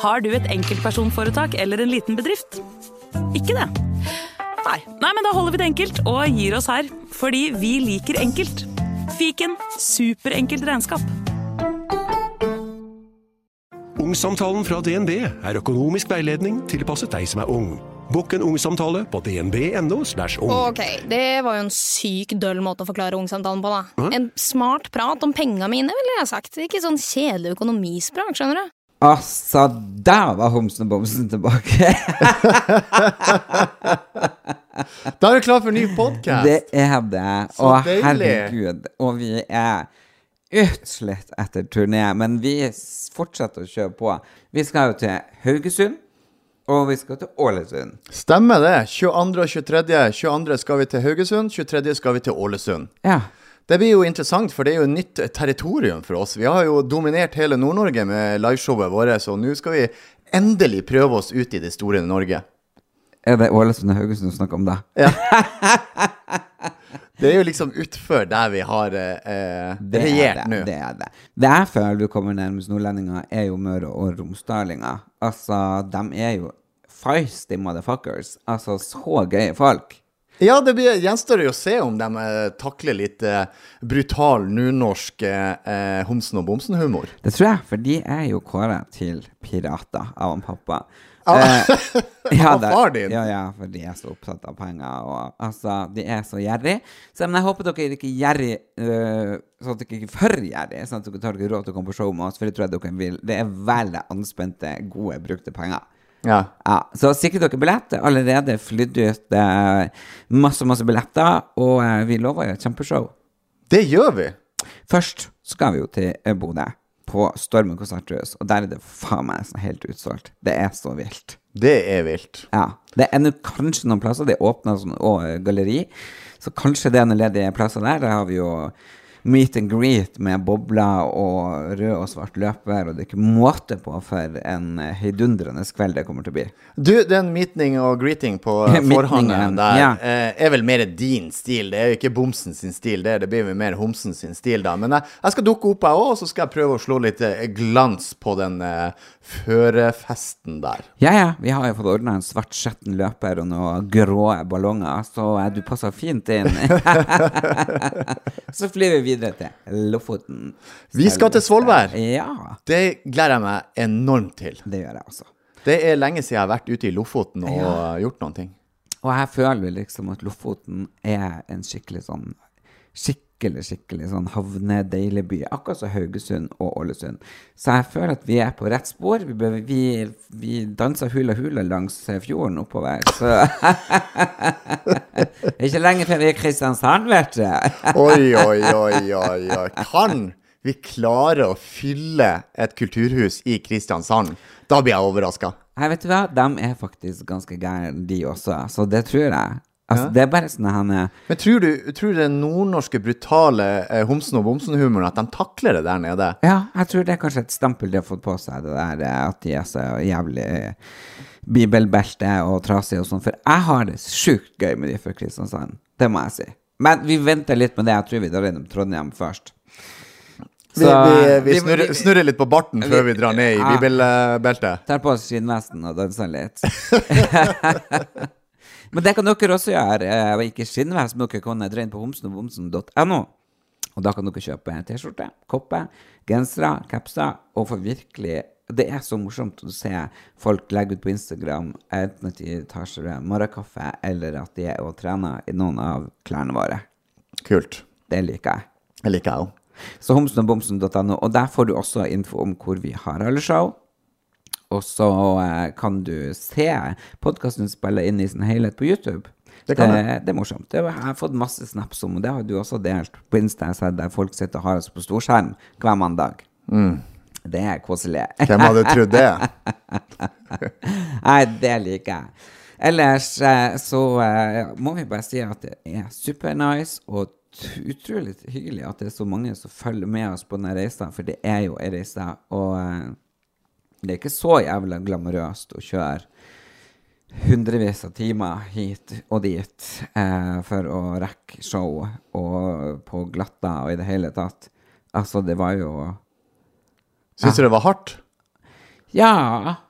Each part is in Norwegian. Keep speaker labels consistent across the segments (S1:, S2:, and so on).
S1: Har du et enkeltpersonforetak eller en liten bedrift? Ikke det? Nei. Nei, men da holder vi det enkelt og gir oss her. Fordi vi liker enkelt. Fiken superenkelt regnskap.
S2: Ungsamtalen fra DNB er økonomisk veiledning tilpasset deg som er ung. Bokk en ungsamtale på dnb.no. slash ung.
S3: Ok, det var jo en syk døll måte å forklare ungsamtalen på, da. En smart prat om penga mine, ville jeg sagt. Ikke sånn kjedelig økonomisprat, skjønner du.
S4: Altså, der var homsen og bomsen tilbake!
S5: Da er du klar for en ny podkast!
S4: Det er det.
S5: Så
S4: Og
S5: deilig.
S4: herregud. Og vi er utslett etter turné, men vi s- fortsetter å kjøre på. Vi skal jo til Haugesund, og vi skal til Ålesund.
S5: Stemmer det. 22. og 23. 22. skal vi til Haugesund, 23. skal vi til Ålesund.
S4: Ja.
S5: Det blir jo interessant, for det er jo et nytt territorium for oss. Vi har jo dominert hele Nord-Norge med liveshowet vårt, så nå skal vi endelig prøve oss ut i det store Norge.
S4: Er det Ålesund og Haugesund du snakker om, da?
S5: Det er jo liksom utfor der vi har eh, eh,
S4: Det er
S5: regjert
S4: det,
S5: nå.
S4: Det er det. Det jeg føler du kommer nærmest nordlendinger, er jo Møre og Romsdalinger. Altså, de er jo feisty motherfuckers. Altså, så gøye folk.
S5: Ja, det blir, gjenstår det jo å se om de eh, takler litt eh, brutal nordnorsk eh, eh, homsen og bomsen-humor.
S4: Det tror jeg, for de er jo kåra til pirater av han pappa. Eh,
S5: Av
S4: da-
S5: Ah. far din?
S4: Ja, ja, for de er så opptatt av penger. Og, altså, de er så gjerrig. Så men jeg håper dere er ikke gjerrig eh, sånn at dere ikke er for gjerrig, sånn at dere tar dere råd til å komme på show med oss, for det tror jeg dere vil. Det er veldig anspente, gode, brukte penger.
S5: Ja.
S4: Ja, så sikre dere billett. Det er Allerede flydd ut eh, masse, masse billetter, og eh, vi lover jo et kjempeshow.
S5: Det gjør vi.
S4: Først skal vi jo til Bodø, på Stormen konserthus, og der er det faen meg sånn helt utsolgt. Det er så vilt.
S5: Det er vilt.
S4: Ja. Det er nå kanskje noen plasser, det åpner sånn og, eh, galleri, så kanskje det er noen ledige plasser der. Der har vi jo meet and greet med bobler og rød og svart løper, og det er ikke måte på for en eh, heidundrende kveld det kommer til å bli.
S5: Du, den meeting og greeting på eh,
S4: Meetingen,
S5: forhangen der
S4: ja.
S5: eh, er vel mer din stil. Det er jo ikke bomsen sin stil, det, er- det blir vel mer homsen sin stil, da. Men jeg, jeg skal dukke opp, jeg òg, og så skal jeg prøve å slå litt eh, glans på den eh, førefesten der.
S4: Ja, ja, vi har jo fått ordna en svart skjetten løper og noen grå ballonger, så eh, du passer fint inn. så flyr vi videre til Lofoten.
S5: Vi skal til Svolvær.
S4: Ja,
S5: Det gleder jeg meg enormt til.
S4: det gjør jeg altså. også.
S5: Det er lenge siden jeg har vært ute i Lofoten og eh, gjort noen ting.
S4: Og jeg føler liksom at Lofoten er en skikkelig sånn Skikkelig, skikkelig sånn havnedeilig by. Akkurat som Haugesund og Ålesund. Så jeg føler at vi er på rett spor. Vi, bør- vi, vi danser hula hula langs eh, fjorden oppover. Så Det er Ikke lenge før vi er i Kristiansand, vet du.
S5: Oi, oi, oi, oi, oi. Kan vi klare å fylle et kulturhus i Kristiansand? Da blir jeg overraska.
S4: Nei, vet du hva? De er faktisk ganske gærne, de også. Så det tror jeg. Altså, Det er bare sånn at han er
S5: Men tror du, tror du den nordnorske brutale eh, homsen- og bomsen-humoren at de takler det der nede?
S4: Ja, jeg tror det er kanskje et stempel de har fått på seg, det der eh, at de er så jævlig eh, bibelbelte og trasige og sånn. For jeg har det sjukt gøy med de fra Kristiansand. Det må jeg si. Men vi venter litt med det. Jeg tror vi drar innom Trondheim først.
S5: Vi, vi, vi, snurrer, snurrer litt på barten før vi drar ned i
S4: Ja.
S5: bibelbeltet.
S4: Tar på oss skinnvesten og danser litt. men det kan dere også gjøre. eh, Ikke skinnvest, men dere kan dra inn på homsenogbomsen.no. Og da kan dere kjøpe en T-skjorte, kopper, gensere, capser, og få virkelig Det er så morsomt å se folk legge ut på Instagram enten at de tar seg en morgenkaffe, eller at de er og trener i noen av klærne våre.
S5: Kult.
S4: Det liker jeg.
S5: Det liker jeg òg.
S4: Så homsenogbomsen.no, og der får du også info om hvor vi har alle show. Og så eh, kan du se podkasten spille inn i sin helhet på YouTube.
S5: Det kan
S4: det, det er morsomt. Det, jeg har fått masse snaps om, og det har du også delt på Insta, jeg har sett der folk sitter og har oss på storskjerm hver mandag. Det er koselig.
S5: Mm. Hvem hadde trodd det?
S4: Nei, det liker jeg. Ellers eh, så eh, må vi bare si at det er supernice og t- utrolig hyggelig at det er så mange som følger med oss på denne reisa, for det er jo ei reise, og eh, det er ikke så jævla glamorøst å kjøre hundrevis av timer hit og dit eh, for å rekke show og på glatta og i det hele tatt. Altså, det var jo
S5: Syns du det var hardt?
S4: ja,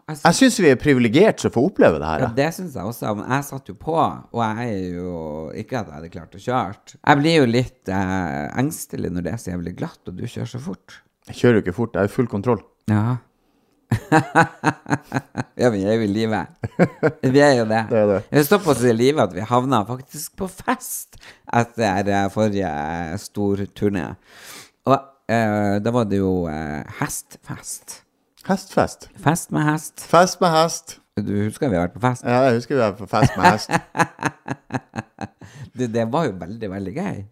S4: jeg
S5: Jeg syns vi er privilegert som får oppleve det her.
S4: Ja,
S5: jeg.
S4: det syns jeg også, men jeg satt jo på, og jeg er jo Ikke at jeg hadde klart å kjøre. Jeg blir jo litt eh, engstelig når det er så jævlig glatt, og du kjører så fort.
S5: Jeg kjører jo ikke fort, jeg har full kontroll.
S4: Ja. ja, vi er jo i live. Vi er jo det.
S5: Det er det.
S4: Vi er såpass i live at vi havna faktisk på fest etter eh, forrige eh, stor turné. Og eh, da var det jo eh, hestfest.
S5: Hestfest.
S4: Fest med hest.
S5: Fest med hest.
S4: Du husker vi har vært på fest?
S5: Ja, jeg husker vi var på fest med hest.
S4: Det, det var jo veldig, veldig gøy.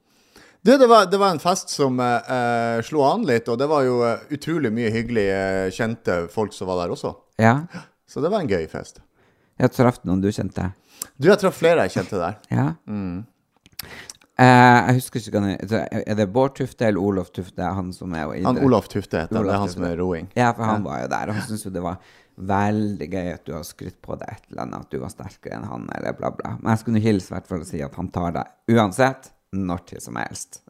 S5: Du, det var, det var en fest som eh, eh, slo an litt, og det var jo eh, utrolig mye hyggelige, eh, kjente folk som var der også.
S4: Ja.
S5: Så det var en gøy fest.
S4: Jeg traff noen du kjente.
S5: Du, jeg traff flere jeg kjente der.
S4: Ja.
S5: Mm.
S4: Eh, jeg husker ikke hva han heter. Er det Bård Tufte eller Olof Tufte? Han som er i
S5: Han
S4: idrett?
S5: Olaf Tufte heter han.
S4: Olaf
S5: Det er han som
S4: Tufte.
S5: er roing.
S4: Ja, for han var jo der. og Han syntes jo det var veldig gøy at du har skrytt på deg et eller annet, at du var sterkere enn han, eller bla, bla. Men jeg skulle nå hilse i hvert fall og si at han tar deg uansett, når til som helst.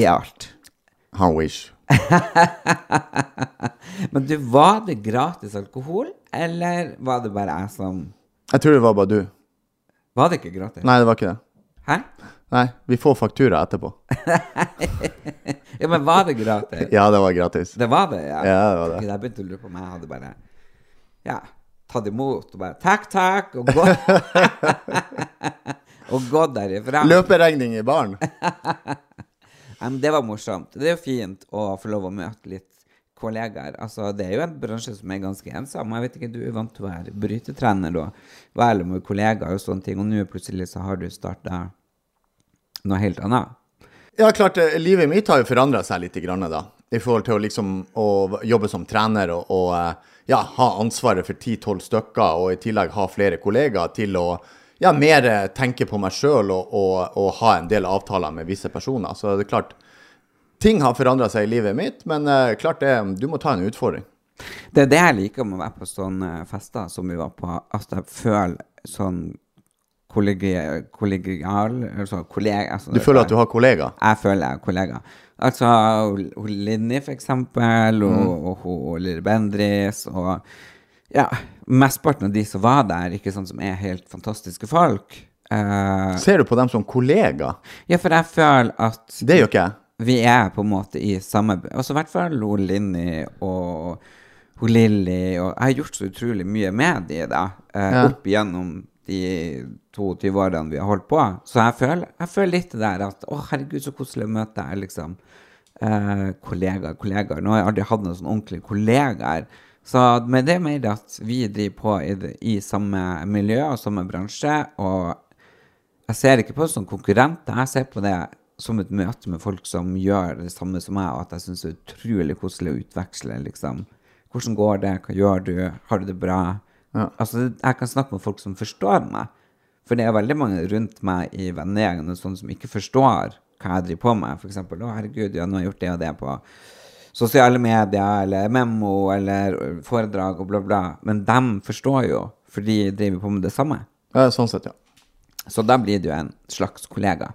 S4: I alt.
S5: Han Wish.
S4: Men du, var det gratis alkohol, eller var det bare jeg som
S5: Jeg tror det var bare du.
S4: Var det ikke gratis?
S5: Nei, det var ikke det.
S4: Hæ?
S5: Nei, vi får faktura etterpå.
S4: Ja, men var det gratis?
S5: Ja, det var gratis.
S4: Det var det, ja.
S5: Ja, det var det.
S4: Gud, Jeg begynte å lure på om jeg hadde bare ja, tatt imot og bare takk, takk, og gått Og gått derifra.
S5: Løperegning i baren.
S4: Ja, men det var morsomt. Det er jo fint å få lov å møte litt kollegaer. Altså, det er jo en bransje som er ganske ensom. Jeg vet ikke, du er vant til å være brytetrener og være med kollegaer og sånne ting, og nå plutselig så har du starta noe helt annet.
S5: Ja, klart, eh, livet mitt har jo forandra seg litt, grann, da. I forhold til å liksom å jobbe som trener og, og eh, ja, ha ansvaret for 10-12 stykker, og i tillegg ha flere kollegaer til å ja, mer eh, tenke på meg sjøl og, og, og ha en del avtaler med visse personer. Så det er klart, ting har forandra seg i livet mitt, men eh, klart det, du må ta en utfordring.
S4: Det er det jeg liker med å være på sånne fester som vi var på, at jeg føler sånn kollegial, kollegial altså kollega, altså,
S5: Du føler at du har kollegaer?
S4: Jeg føler jeg er kollega. Altså hun- hun Linni, for eksempel, og,
S5: Mm.
S4: og, hun- og Lille Bendris, og ja, mesteparten av de som var der, ikke sånn som er helt fantastiske folk. Eh,
S5: Ser du på dem som kollegaer?
S4: ja, for jeg føler at
S5: Det gjør ikke jeg.
S4: vi er på en måte i samme Altså i hvert fall hun Linni og hun Lilly og Jeg har gjort så utrolig mye med de da, eh,
S5: Ja.
S4: opp igjennom de 22 årene vi har holdt på. Så jeg føler, jeg føler litt det der at å, herregud, så koselig å møte deg, liksom. Eh, kollegaer, kollegaer. Nå har jeg aldri hatt noen sånn ordentlige kollegaer. Så men det er mer det at vi driver på i, det- i samme miljø og samme bransje, og jeg ser ikke på det som konkurrenter, jeg ser på det som et møte med folk som gjør det samme som meg, og at jeg syns det er utrolig koselig å utveksle, liksom. Hvordan går det, hva gjør du, har du det bra? Altså, jeg kan snakke med folk som forstår meg, for det er veldig mange rundt meg i vennegjengen og sånn som ikke forstår hva jeg driver på med, for eksempel, å herregud, ja, nå har jeg gjort det og det på sosiale medier eller memo eller foredrag og bla bla, men dem forstår jo, for de driver på med det samme.
S5: Ja, sånn sett, ja.
S4: Så da blir du en slags kollega.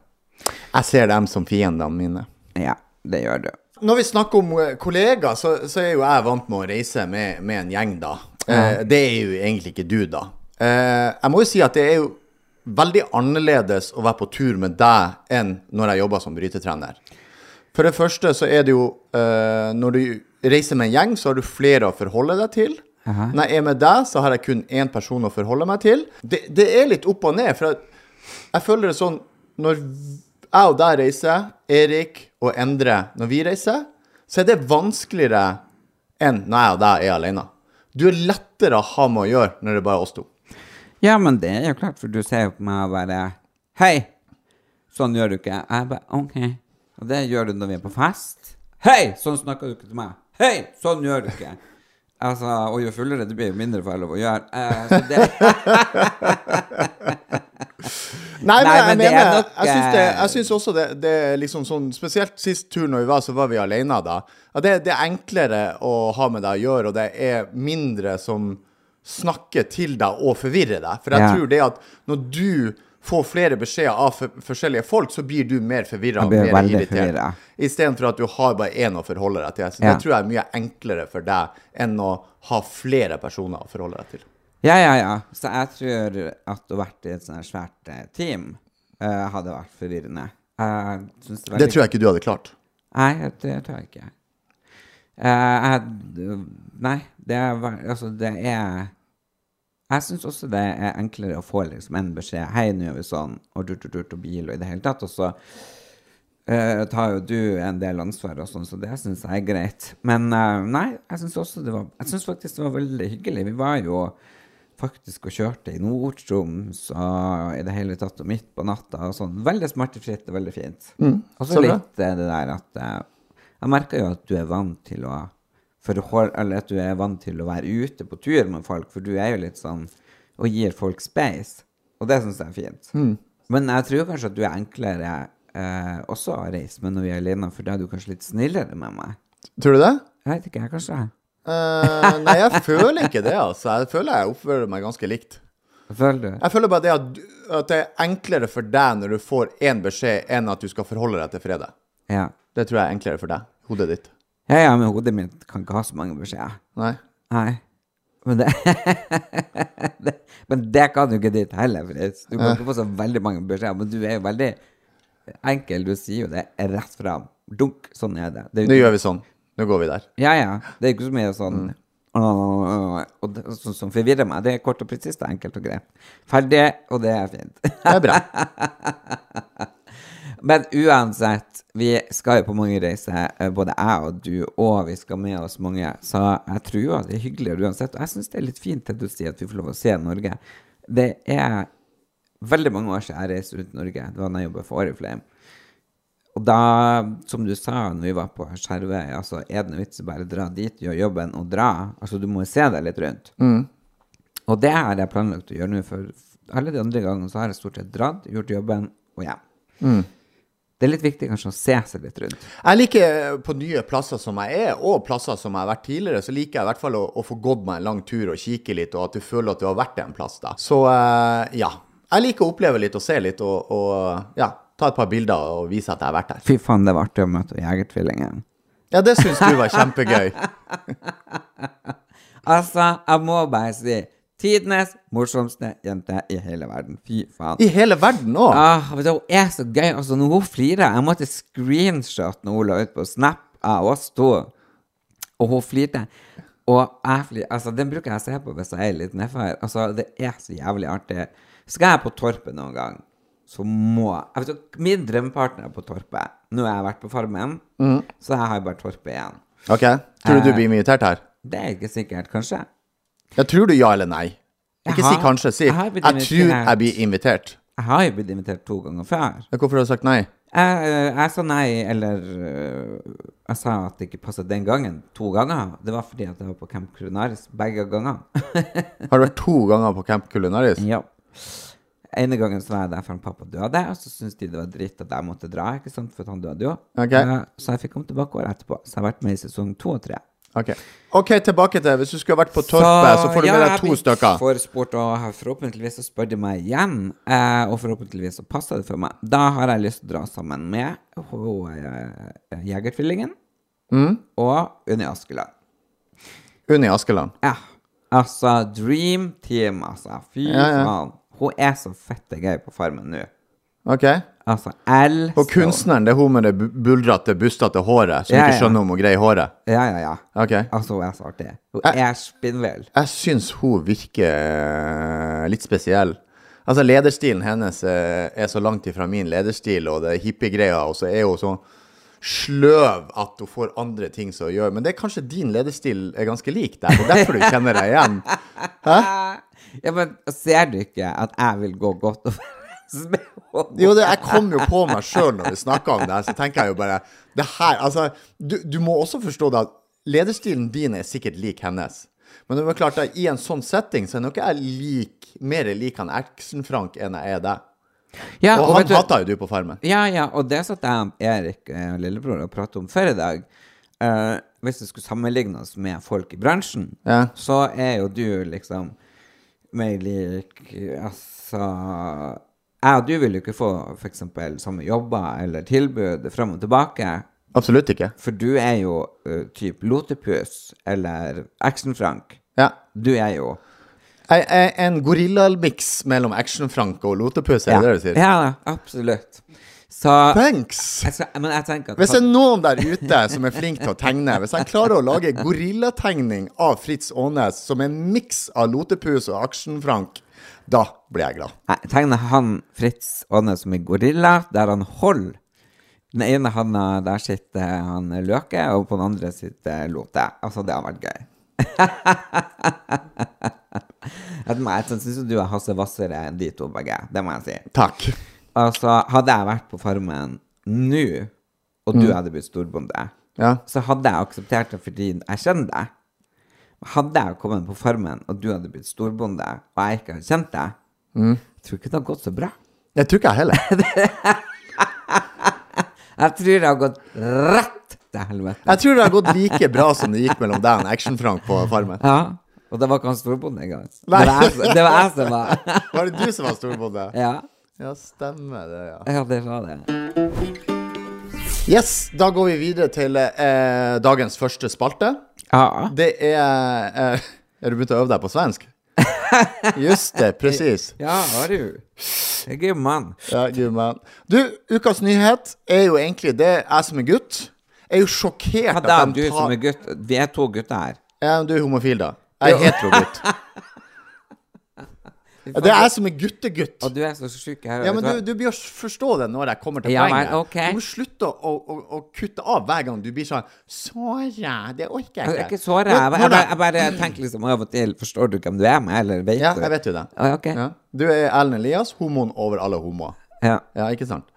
S5: Jeg ser dem som fiendene mine.
S4: Ja, det gjør du.
S5: Når vi snakker om eh, kollegaer, så, så er jo jeg vant med å reise med, med en gjeng, da. Eh, det er jo egentlig ikke du, da. Eh, jeg må jo si at det er jo veldig annerledes å være på tur med deg enn når jeg jobber som brytetrener. For det første så er det jo eh, Når du reiser med en gjeng, så har du flere å forholde deg til. Når jeg er med deg, så har jeg kun én person å forholde meg til. Det, det er litt opp og ned, for jeg, jeg føler det sånn Når jeg og deg reiser, Erik og Endre, når vi reiser, så er det vanskeligere enn når jeg og deg er alene. Du er lettere å ha med å gjøre når det bare er oss to.
S4: Ja, men det er jo klart, for du ser jo på meg og bare Hei! Sånn gjør du ikke. Jeg bare OK. Og det gjør du når vi er på fest. Hei! Sånn snakker du ikke til meg. Hei! Sånn gjør du ikke. Altså, og jo fullere du blir, jo mindre får jeg lov å gjøre. Eh, så det,
S5: Nei, men,
S4: Nei, men det
S5: jeg
S4: er
S5: mener
S4: nok,
S5: Jeg syns, det,
S4: eh,
S5: jeg syns også det, det er liksom sånn Spesielt sist tur når vi var, så var vi alene da. Ja, det, det er enklere å ha med deg å gjøre, og det er mindre som snakker til deg og forvirrer deg. For jeg
S4: Ja.
S5: tror det at når du får flere beskjeder av for- forskjellige folk, så blir du mer forvirra
S4: Jeg
S5: og
S4: blir
S5: mer
S4: veldig
S5: irritert.
S4: forvirret.
S5: Istedenfor at du har bare én å forholde deg til. Så
S4: Ja.
S5: Det tror jeg er mye enklere for deg enn å ha flere personer å forholde deg til.
S4: Ja, ja, ja. Så jeg tror at å vært i et sånt her svært eh, team eh, hadde vært forvirrende. Jeg synes det,
S5: Det tror jeg ikke du hadde klart.
S4: Nei, det tror jeg ikke. Eh, jeg, nei, det er vel- Altså, det er Jeg syns også det er enklere å få liksom en beskjed. 'Hei, nå gjør vi sånn', og durt-durt og bil og i det hele tatt. Og så eh, tar jo du en del ansvar og sånn, så det syns jeg er greit. Men eh, nei, jeg syns også det var Jeg syns faktisk det var veldig hyggelig. Vi var jo faktisk og kjørte i Nord-Troms og i det hele tatt og midt på natta og sånn. Veldig smertefritt og veldig fint. og
S5: så
S4: så
S5: bra.
S4: litt eh, det der at eh, Jeg merker jo at du er vant til å forhold, Eller at du er vant til å være ute på tur med folk, for du er jo litt sånn og gir folk space. Og det syns jeg er fint. Men jeg tror kanskje at du er enklere eh, også å reise med når vi er alene, for da er du kanskje litt snillere med meg.
S5: Tror du det?
S4: Jeg vet ikke, jeg kanskje.
S5: Eh, nei, jeg føler ikke det, altså. Jeg føler jeg oppfører meg ganske likt.
S4: Føler du?
S5: Jeg føler bare det at, du- at det er enklere for deg når du får én beskjed, enn at du skal forholde deg til fredag.
S4: Ja.
S5: Det tror jeg er enklere for deg. Hodet ditt.
S4: Ja, ja, men hodet mitt kan ikke ha så mange beskjeder.
S5: Nei.
S4: Nei. Men det, det Men det kan du ikke dit heller, Fritz. Du kan ikke få så veldig mange beskjeder, men du er jo veldig enkel. Du sier jo det rett fram. Dunk, sånn er det. det er
S5: Nå
S4: jo,
S5: gjør vi sånn. Nå går vi der.
S4: ja, ja. Det er ikke så mye sånn «Åh», og det, sånn som forvirrer meg. Det er kort og presist, enkelt og greit. Ferdig, og det er fint.
S5: Det er bra.
S4: Men uansett, vi skal jo på mange reiser, eh, både jeg og du, og vi skal med oss mange. Så jeg tror jo at det er hyggeligere uansett. Og jeg syns det er litt fint det du sier, at vi får lov å se Norge. Det er veldig mange år siden jeg reiste rundt Norge. Det var da jeg jobbet for Oriflame. Og da, som du sa når vi var på Skjervøy, altså er det noe vits i bare dra dit, gjøre jobben og dra? Altså du må jo se deg litt rundt. Og det har jeg planlagt å gjøre nå, for alle de andre gangene så har jeg stort sett dratt, gjort jobben og hjem. Det er litt viktig kanskje å se seg litt rundt.
S5: Jeg liker eh, på nye plasser som jeg er, og plasser som jeg har vært tidligere, så liker jeg i hvert fall å, å få gått meg en lang tur og kikke litt, og at du føler at du har vært en plass da. Så eh, ja. Jeg liker å oppleve litt og se litt, og, og ja, ta et par bilder og vise at jeg har vært der.
S4: Fy faen, det var artig å møte Jegertvillingen.
S5: Ja, det syns du var kjempegøy.
S4: Altså, jeg må bare si tidenes morsomste jente i hele verden. Fy faen.
S5: I hele verden òg.
S4: Ah, vet du, hun er så gøy. Altså, når hun flirer Jeg måtte screenshot når hun la ut på Snap av oss to, og hun flirte. Og jeg flir, altså, den bruker jeg å se på hvis jeg er litt nedfor. Altså, det er så jævlig artig. Skal jeg på Torpet noen gang, så må jeg vet du, Min drømmepartner er på Torpet. Nå har jeg vært på Farmen, så jeg har bare Torpet igjen.
S5: OK. Tror du du
S4: Eh.
S5: blir invitert her?
S4: Det er ikke sikkert, kanskje.
S5: Jeg tror du ja eller nei.
S4: Jeg
S5: Ikke si
S4: har-
S5: kanskje, si
S4: jeg har
S5: jeg
S4: blitt
S5: tror
S4: invitert.
S5: jeg blir invitert.
S4: Jeg har jo blitt invitert to ganger før.
S5: Ja, Hvorfor har du sagt nei?
S4: Jeg, eh, jeg sa nei, eller øh, Jeg sa at det ikke passet den gangen, to ganger. Det var fordi at jeg var på Camp Culinaris begge gangene.
S5: Har du vært to ganger på Camp Culinaris?
S4: ja. Ene gangen så var jeg der for han pappa døde, og så syntes de det var dritt at jeg måtte dra, ikke sant, for at han døde jo.
S5: Ok.
S4: Eh, Så jeg fikk komme tilbake året etterpå. Så jeg har vært med i sesong to og tre.
S5: Ok, Ok, tilbake til Hvis du skulle vært på Torpet, så, får du med deg to
S4: Ja, jeg blir
S5: stykker.
S4: forspurt, og forhåpentligvis så spør de meg igjen. eh, Og forhåpentligvis så passer det for meg. Da har jeg lyst til å dra sammen med ho- eh, Jegertvillingen
S5: Mm.
S4: og Unni Askeland.
S5: Unni Askeland.
S4: Ja. Altså, dream team, altså. Fy
S5: Ja, ja.
S4: faen. Hun er så fette gøy på Farmen nå.
S5: Ok?
S4: Altså, L
S5: Og kunstneren, det er hun med det bu- buldrete, bustete håret, som
S4: Ja,
S5: ikke
S4: ja.
S5: skjønner om hun greier håret.
S4: Ja, ja, ja.
S5: Ok.
S4: Altså, hun er så artig. Hun
S5: Jeg-
S4: er spinnvill.
S5: Jeg syns hun virker eh, litt spesiell. Altså, lederstilen hennes eh, er så langt ifra min lederstil, og det er hippiegreia, og så er hun så sløv at hun får andre ting som hun gjør. Men det er kanskje din lederstil er ganske lik deg, det er derfor du kjenner deg igjen.
S4: Ja, men ser du ikke at jeg vil gå godt overens med henne?
S5: Jo, det, jeg kom jo på meg sjøl når vi snakka om det her, så tenker jeg jo bare Det her Altså, du, du må også forstå det at lederstilen din er sikkert lik hennes. Men det er jo klart at i en sånn setting så er nok jeg lik, mer lik han Erksen-Frank enn jeg er deg.
S4: Ja,
S5: Og
S4: og vet
S5: han
S4: du-
S5: hata jo du på Farmen.
S4: Ja, ja, og det satt jeg og Erik, eh, lillebror, og pratet om før i dag. Eh, hvis det skulle sammenlignes med folk i bransjen,
S5: Ja.
S4: så er jo du liksom mer lik Altså Jeg og du vil jo ikke få f.eks. samme jobber eller tilbud fram og tilbake.
S5: Absolutt ikke.
S4: For du er jo uh, typ Lotepus eller Action-Frank.
S5: Ja.
S4: Du er jo
S5: Jeg er eh, en gorillamiks mellom Action-Frank og Lotepus, er det det du sier?
S4: Ja, absolutt. Så
S5: Thanks!
S4: jeg skal, Men jeg tenker at
S5: Hvis det er noen der ute som er flink til å tegne, hvis han klarer å lage gorillategning av Fritz Aanes som en miks av Lotepus og Action-Frank, da blir jeg glad.
S4: Jeg tegner han Fritz Aanes som en gorilla, der han holder den ene handa der sitter han Løke, og på den andre sitter Lote. Altså, det har vært gøy. Jeg må- jeg syns jo du er Hasse Hvassere enn de to begge, det må jeg si.
S5: Takk.
S4: Altså, hadde jeg vært på Farmen nå, og du hadde blitt storbonde,
S5: Ja.
S4: så hadde jeg akseptert det fordi jeg kjenner deg. Hadde jeg kommet på Farmen, og du hadde blitt storbonde, og jeg ikke hadde kjent deg,
S5: Mm.
S4: jeg tror ikke det hadde gått så bra.
S5: Jeg tror ikke jeg heller.
S4: Jeg tror det har gått rett til helvete.
S5: Jeg tror det har gått like bbra som det gikk mellom deg og Action-Frank på Farmen.
S4: Ja. Og det var ikke han storbonde engang. Det
S5: Nei.
S4: var jeg som- det var jeg som var
S5: Var det du som var storbonde?
S4: Ja,
S5: Ja, stemmer det, ja.
S4: ja det var det.
S5: Yes, da går vi videre til eh, dagens første spalte.
S4: Ja.
S5: Det er eh, Er du begynt å øve deg på svensk? Just det, presis.
S4: Ja, har du. Det er jo mann.
S5: Ja, gud, man. Du, ukas nyhet er jo egentlig det jeg som er gutt, er jo sjokkert
S4: Hadde jeg
S5: at de
S4: du som
S5: tar
S4: er gutt Vi er to gutter her.
S5: Ja, men du er homofil, da. Jeg er heterogutt. Ja, Det er jeg som er guttegutt.
S4: Og du er så sjuk.
S5: Ja, men du, du bør forstå det når jeg kommer til
S4: Ja,
S5: poenget.
S4: vel, ok.
S5: Du må slutte å, å, å kutte av hver gang du blir sånn Såra, det orker
S4: Jeg er
S5: jeg
S4: ikke såret. Jeg, bare- jeg, bare- jeg bare tenker liksom av og til Forstår du hvem du er med, eller vet
S5: Ja,
S4: du?
S5: jeg vet jo det.
S4: Ja, ok.
S5: Ja. Du er Ellen Elias, homoen over alle homoer.
S4: Ja.
S5: Ja, ikke sant?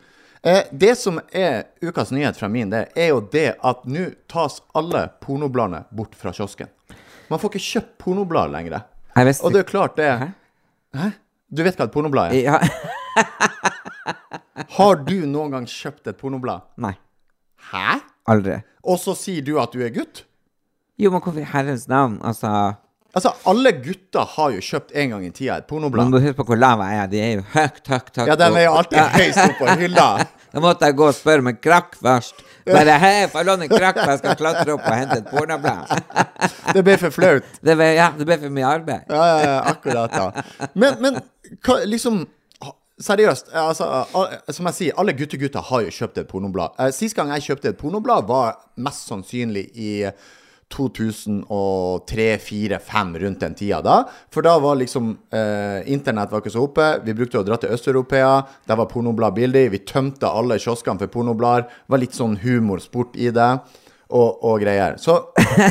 S5: Eh, det som er ukas nyhet fra min del, er jo det at nå tas alle pornobladene bort fra kiosken. Man får ikke kjøpt pornoblad lenger.
S4: Jeg visste
S5: Og det er klart det Hæ?
S4: Hæ?
S5: Du vet hva et pornoblad er?
S4: Ja.
S5: Har du noen gang kjøpt et pornoblad?
S4: Nei.
S5: Hæ?
S4: Aldri.
S5: Og så sier du at du er gutt?
S4: Jo, men hvorfor i herrens navn? Altså
S5: Altså, alle gutter har jo kjøpt en gang i tida et
S4: Man
S5: pornoblad.
S4: må huske på hvor lav jeg er. De er jo høyt, høyt, høyt
S5: Ja, den
S4: opp.
S5: er jo alltid høyst oppe på hylla.
S4: Da måtte jeg gå og spørre om en krakk først. Bare hei, får jeg låne en krakk, for jeg skal klatre opp og hente et pornoblad.
S5: Det ble for flaut.
S4: Det ble, ja, det ble for mye arbeid.
S5: Ja, ja, ja, akkurat, ja. Men, men hva, liksom ha- Seriøst, eh, altså, al- som jeg sier, alle guttegutter har jo kjøpt et pornoblad. Eh, Sist gang jeg kjøpte et pornoblad, var mest sannsynlig i 2003-2004-2005, rundt den tida da. For da var liksom eh, Internett var ikke så oppe. Vi brukte å dra til Øst-Europea. Der var pornoblad billig. Vi tømte alle kioskene for pornoblader. Var litt sånn humorsport i det, og, og greier. Så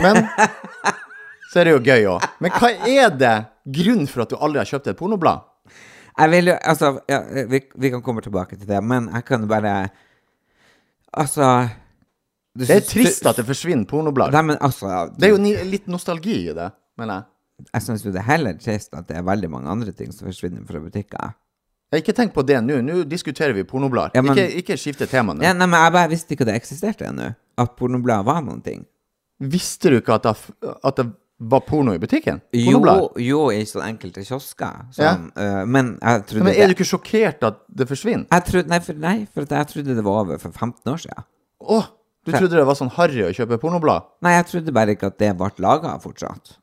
S5: Men så er det jo gøy òg. Men hva er det grunnen for at du aldri har kjøpt et pornoblad?
S4: Jeg vil jo, altså, ja, vi, vi kan komme tilbake til det, men jeg kan bare Altså du
S5: Det er
S4: syns-
S5: trist
S4: du-
S5: at det forsvinner pornoblad.
S4: Nei, men altså
S5: Det er jo ni- litt nostalgi i det, mener jeg.
S4: Jeg syns jo det er heller trist at det er veldig mange andre ting som forsvinner fra butikker.
S5: Jeg ikke tenk på det nå. Nå diskuterer vi pornoblader.
S4: Ja, men-
S5: Ikke, ikke skifte tema nå.
S4: Ja, nei, men jeg bare visste ikke at det eksisterte ennå. At pornoblad var noen ting.
S5: Visste du ikke at det, f- at det var porno i butikken?
S4: Jo,
S5: Pornoblad?
S4: jo, i sånne enkelte kiosker. Sånn, øh, men jeg trodde
S5: Men
S4: det-
S5: er du ikke sjokkert at det forsvinner?
S4: Jeg trodde, nei, for, nei, for at jeg trodde det var over for 15 år siden.
S5: Å, du trodde det var sånn harry å kjøpe pornoblad?
S4: Nei, jeg trodde bare ikke at det ble laga fortsatt.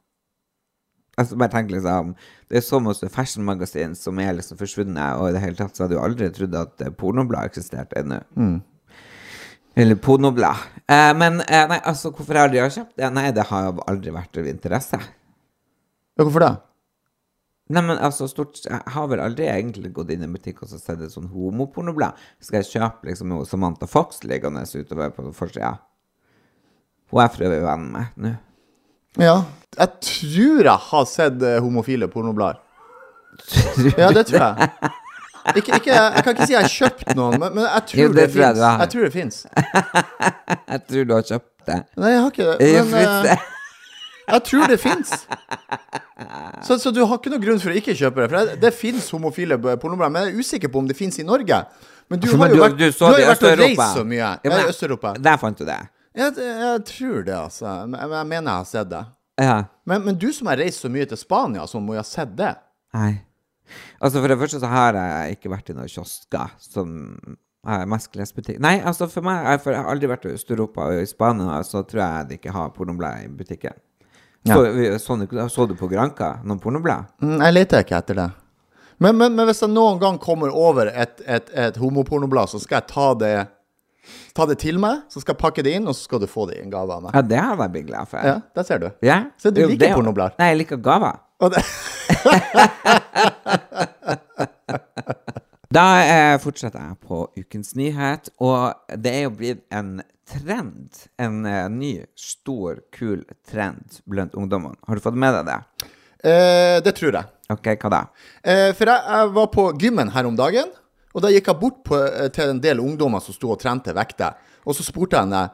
S4: Altså, bare tenk liksom Det er så masse fashionmagasin som er liksom forsvunnet, og i det hele tatt så hadde jeg jo aldri trodd at eh, pornoblad eksisterte ennå.
S5: Mm.
S4: Eller pornoblad. Eh, men eh, nei, altså, hvorfor har de har kjøpt det? Nei, det har jo aldri vært av interesse.
S5: Ja, hvorfor det?
S4: Nei, men altså, stort Jeg har vel aldri egentlig gått inn i en butikk og så sett et sånn homopornoblad. Skal jeg kjøpe liksom noe Samantha Fox liggende utover på forsida? Hun er for øvrig venn med nå.
S5: Ja. Jeg tror jeg har sett eh, homofile pornoblader. Ja, det tror jeg. Ikke, ikke, jeg kan ikke si jeg har kjøpt noen, men, men jeg tror
S4: Jo,
S5: det,
S4: det tror jeg
S5: finnes.
S4: du har.
S5: Jeg tror det fins.
S4: Jeg tror du har kjøpt det.
S5: Nei, jeg har ikke det.
S4: Jeg
S5: Men eh,
S4: flytter-
S5: jeg tror det fins. Så, så du har ikke noen grunn for å ikke kjøpe det. For det, det fins homofile b- pornoblader, men jeg er usikker på om det fins i Norge. Men du
S4: Men
S5: har jo
S4: du-
S5: vært,
S4: du
S5: du
S4: så
S5: har
S4: det i
S5: jo vært og reist
S4: Østeuropa.
S5: så mye.
S4: Ja, men-
S5: Ja, I Øst-Europa.
S4: Der fant du det.
S5: Jeg, jeg tror det, altså. Men men jeg mener jeg har sett det.
S4: Ja.
S5: Men, men du som har reist så mye til Spania, så må jo ha sett det.
S4: Nei. Altså, for det første så har jeg ikke vært i noen kiosker som er maskelesbutikk. Nei, altså, for meg jeg- for Jeg har aldri vært i Øst-Europa og i Spania, så tror jeg de ikke har pornoblad i butikken. Så, så, du- så du på Granca noen pornoblad?
S5: Mm, Jeg leter ikke etter det. Men, men, men hvis jeg noen gang kommer over et, et, et homopornoblad, så skal jeg ta det, ta det til meg. Så skal jeg pakke det inn, og så skal du få det i en gave av meg.
S4: Ja, det hadde jeg blitt glad for.
S5: Ja, Der ser du.
S4: Ja?
S5: Så du
S4: Jo,
S5: liker
S4: det-
S5: pornoblader?
S4: Nei, jeg liker gaver.
S5: Og det,
S4: Da eh, fortsetter jeg på ukens nyhet, og det er jo blitt en trend. En eh, ny, stor, kul trend blant ungdommene. Har du fått med deg det?
S5: eh, det tror jeg.
S4: Ok, hva da?
S5: Eh, for jeg, jeg var på gymmen her om dagen, og da gikk jeg bort på, eh, til en del ungdommer som sto og trente vekter. Og så spurte jeg henne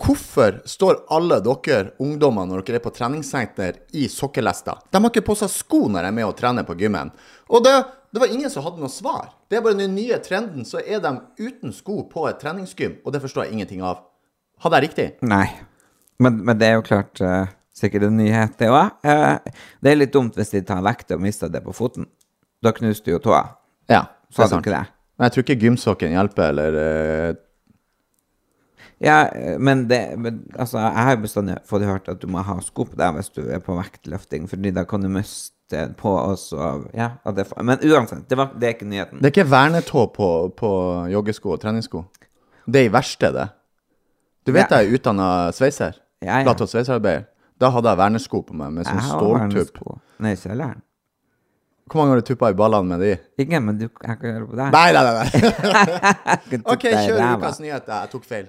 S5: hvorfor står alle dere ungdommer når dere er på treningssenter i sokkelester? De har ikke på seg sko når de er med og trener på gymmen. Og det, det var ingen som hadde noe svar. Det er bare den nye trenden, så er de uten sko på et treningsgym, og det forstår jeg ingenting av. Hadde jeg riktig?
S4: Nei. Men, men det er jo klart eh, sikkert en nyhet, det òg. det er litt dumt hvis de tar vekk det og mister det på foten. Da knuste jo tåa.
S5: Ja. det
S4: Sa
S5: er
S4: de
S5: sant.
S4: ikke det?
S5: Men jeg tror ikke gymsokken hjelper, eller eh,
S4: Ja, eh, men det men, Altså, jeg har jo bestandig fått hørt at du må ha sko på deg hvis du er på vektløfting, fordi da kan du miste på også Ja, at det, er fa- men uansett, det, var, det er ikke nyheten.
S5: Det er ikke vernetå på, på joggesko og treningssko. Det er i verste, det. Du vet
S4: Ja.
S5: jeg er utdanna sveiser?
S4: Ja, ja.
S5: Plato- og sveiserarbeider. Da hadde jeg vernesko på meg med sånn
S4: Jeg har
S5: ståltupp.
S4: vernesko. Nei, kjelleren.
S5: Hvor mange har du tuppa i ballene med de?
S4: Ikke, men du, jeg kan gjøre på deg.
S5: Nei, nei, nei. nei.
S4: Jeg kan
S5: OK,
S4: tuppe deg i
S5: kjør
S4: ræva.
S5: ukas nyhet. Jeg tok feil.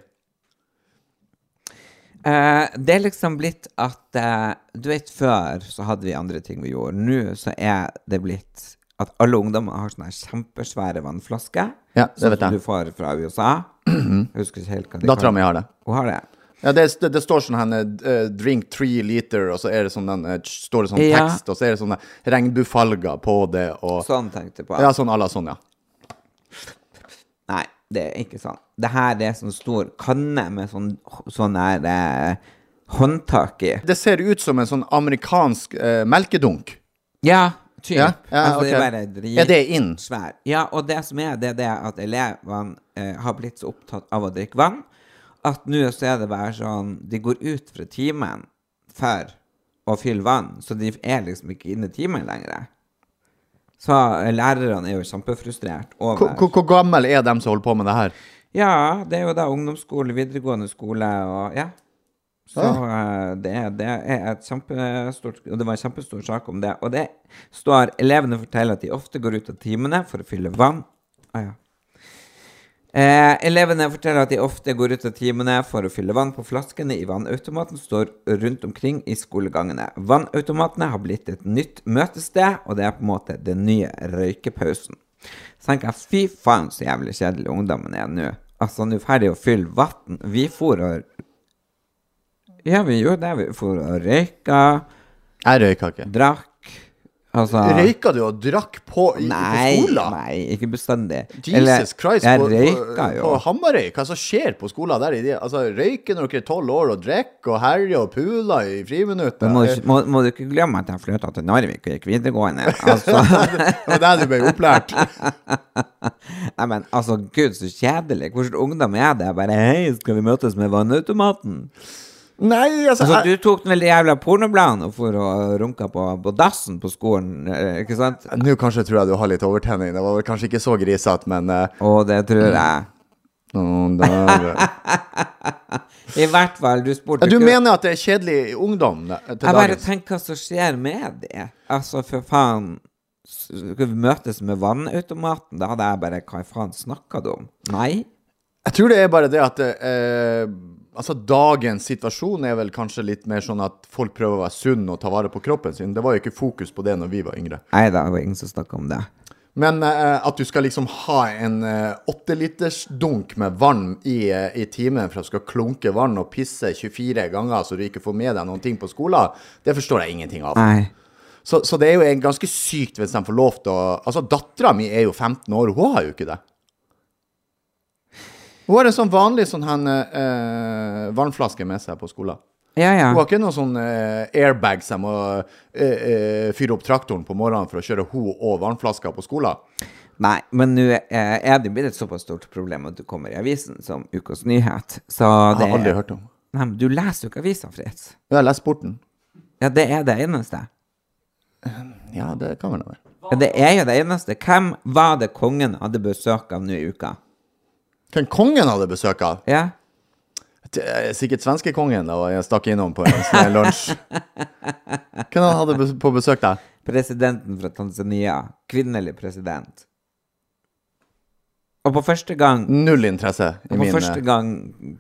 S4: Eh, det er liksom blitt at eh, Du vet, før så hadde vi andre ting vi gjorde. Nå så er det blitt at alle ungdommer har sånne her kjempesvære vannflasker.
S5: Ja, det
S4: sånn
S5: vet
S4: som
S5: jeg.
S4: du får fra USA. Jeg husker ikke helt hva de
S5: Dattera mi har det.
S4: Hun har det.
S5: Ja, det, det, det står sånn her eh, 'drink three liter', og så er det sånn den, eh, står det sånn
S4: Ja.
S5: tekst, og så er det sånne regnbuefalger på det, og
S4: Sånn tenkte jeg på.
S5: Ja, sånn à la sånn, ja.
S4: Nei, det er ikke sånn. Det her er sånn stor kanne med sånn, sånn her eh, håndtak i.
S5: Det ser ut som en sånn amerikansk eh, melkedunk.
S4: Ja, typ.
S5: Ja, ja,
S4: altså, det
S5: ok.
S4: er bare drit
S5: Er det inn?
S4: Svær. Ja, og det som er, det er det at elevene eh, har blitt så opptatt av å drikke vann, at nå så er det bare sånn De går ut fra timen for å fylle vann, så de er liksom ikke inne i timen lenger. Så eh, lærerne er jo kjempefrustrert
S5: Hvor,
S4: over
S5: hvor, hvor gammel er dem som holder på med det her?
S4: Ja, det er jo da ungdomsskole, videregående skole og ja. Så eh, det, det er et kjempestort Og det var en kjempestor sak om det. Og det står Elevene forteller at de ofte går ut av timene for å fylle vann. Ah, ja. Eh, elevene forteller at de ofte går ut av timene for å fylle vann på flaskene i vannautomaten som står rundt omkring i skolegangene. Vannautomatene har blitt et nytt møtested, og det er på en måte den nye røykepausen. Så tenker jeg, fy faen så jævlig kjedelig ungdommen er nå. Altså, nå ferdig å fylle vann. Vi for og Ja, vi gjorde det. Vi for og røyka,
S5: Jeg røyka ikke.
S4: drakk. Altså
S5: Røyka du og drakk på, i,
S4: Nei,
S5: på skolen?
S4: nei, ikke bestandig.
S5: Jesus Christ,
S4: jeg
S5: på, på,
S4: røyka jo.
S5: på Hamarøy, hva som skjer på skolen der? i de- Altså, røyke når dere er tolv år, og drikke og herje og pule i friminuttet.
S4: Men må, du
S5: Det
S4: ikke- må, må du ikke glemme at jeg flytta til Narvik og gikk videregående? Altså,
S5: var der du ble opplært.
S4: nei, men altså, gud, så kjedelig. Hvordan ungdom er det? Bare hei, skal vi møtes med vannautomaten?
S5: Nei, altså,
S4: Altså,
S5: jeg,
S4: du tok den veldig jævla pornobladen og for og runka på, på dassen på skolen, eh, ikke sant?
S5: Nå kanskje tror jeg du har litt overtenning. Det var vel kanskje ikke så grisete, men eh,
S4: Og det tror jeg.
S5: noen dager.
S4: I hvert fall, du spurte
S5: Du
S4: ikke-
S5: mener at det er kjedelig ungdom eh, til
S4: Jeg bare
S5: dagens?
S4: tenker hva som skjer med det. Altså, for faen. s- Skal vi møtes med vannautomaten? Da hadde jeg bare Hva faen snakker du om? Nei?
S5: Jeg tror det er bare det at eh, Altså, dagens situasjon er vel kanskje litt mer sånn at folk prøver å være sunn og ta vare på kroppen sin. Det var jo ikke fokus på det når vi var yngre.
S4: Nei da, det var ingen som snakka om det.
S5: Men eh, at du skal liksom ha en åttelitersdunk med vann i, eh, i timen for at du skal klunke vann og pisse 24 ganger så du ikke får med deg noen ting på skolen, det forstår jeg ingenting av.
S4: Nei.
S5: Så, så det er jo en ganske sykt hvis de får lov til å Altså, dattera mi er jo 15 år, hun har jo ikke det. Hun har en sånn vanlig sånn hen, eh, vannflaske med seg på skolen.
S4: Ja, ja.
S5: Hun har ikke noen sånn eh, airbags jeg må eh, eh, fyre opp traktoren på morgenen for å kjøre hun og vannflaska på skolen.
S4: Nei, men nå eh, er det blitt et såpass stort problem at du kommer i avisen som ukas nyhet. Så
S5: Jeg
S4: det
S5: har aldri hørt om
S4: Nei, men du leser jo ikke avisa, Fritz.
S5: Jeg har lest sporten.
S4: Ja, det er det eneste.
S5: Ja, det kan vel være.
S4: Ja, det er jo det eneste. Hvem var det kongen hadde besøk av nå i uka?
S5: Hvem kongen hadde besøk av?
S4: Ja?
S5: Det er Sikkert svenskekongen, da. Jeg stakk innom på en sånn lunsj. Hvem han hadde bes- på besøk der?
S4: Presidenten fra Tanzania. Kvinnelig president. Og på første gang
S5: Null interesse i
S4: Og
S5: min eh,
S4: for første gang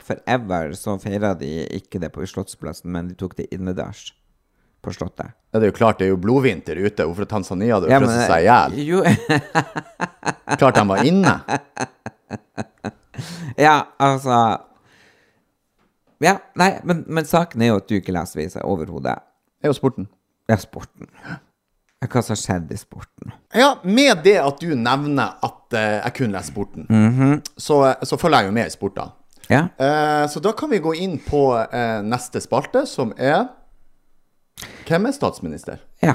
S4: forever så feira de ikke det på Slottsplassen, men de tok det innendørs på Slottet.
S5: Ja, Det er jo klart, det er jo blodvinter ute. Hvorfor er Tanzania hadde jo frosset seg i hjel?
S4: jo,
S5: Klart de var inne.
S4: Ja, altså Ja, nei, men, men saken er jo at du ikke leser aviser overhodet.
S5: Det er jo sporten.
S4: Ja, sporten. Ja, Hva som har skjedd i sporten?
S5: Ja, med det at du nevner at eh, jeg kun leser sporten,
S4: Mhm.
S5: så, eh, så følger jeg jo med i sport, da.
S4: Ja.
S5: Eh, så da kan vi gå inn på eh, neste spalte, som er Hvem er statsminister?
S4: ja.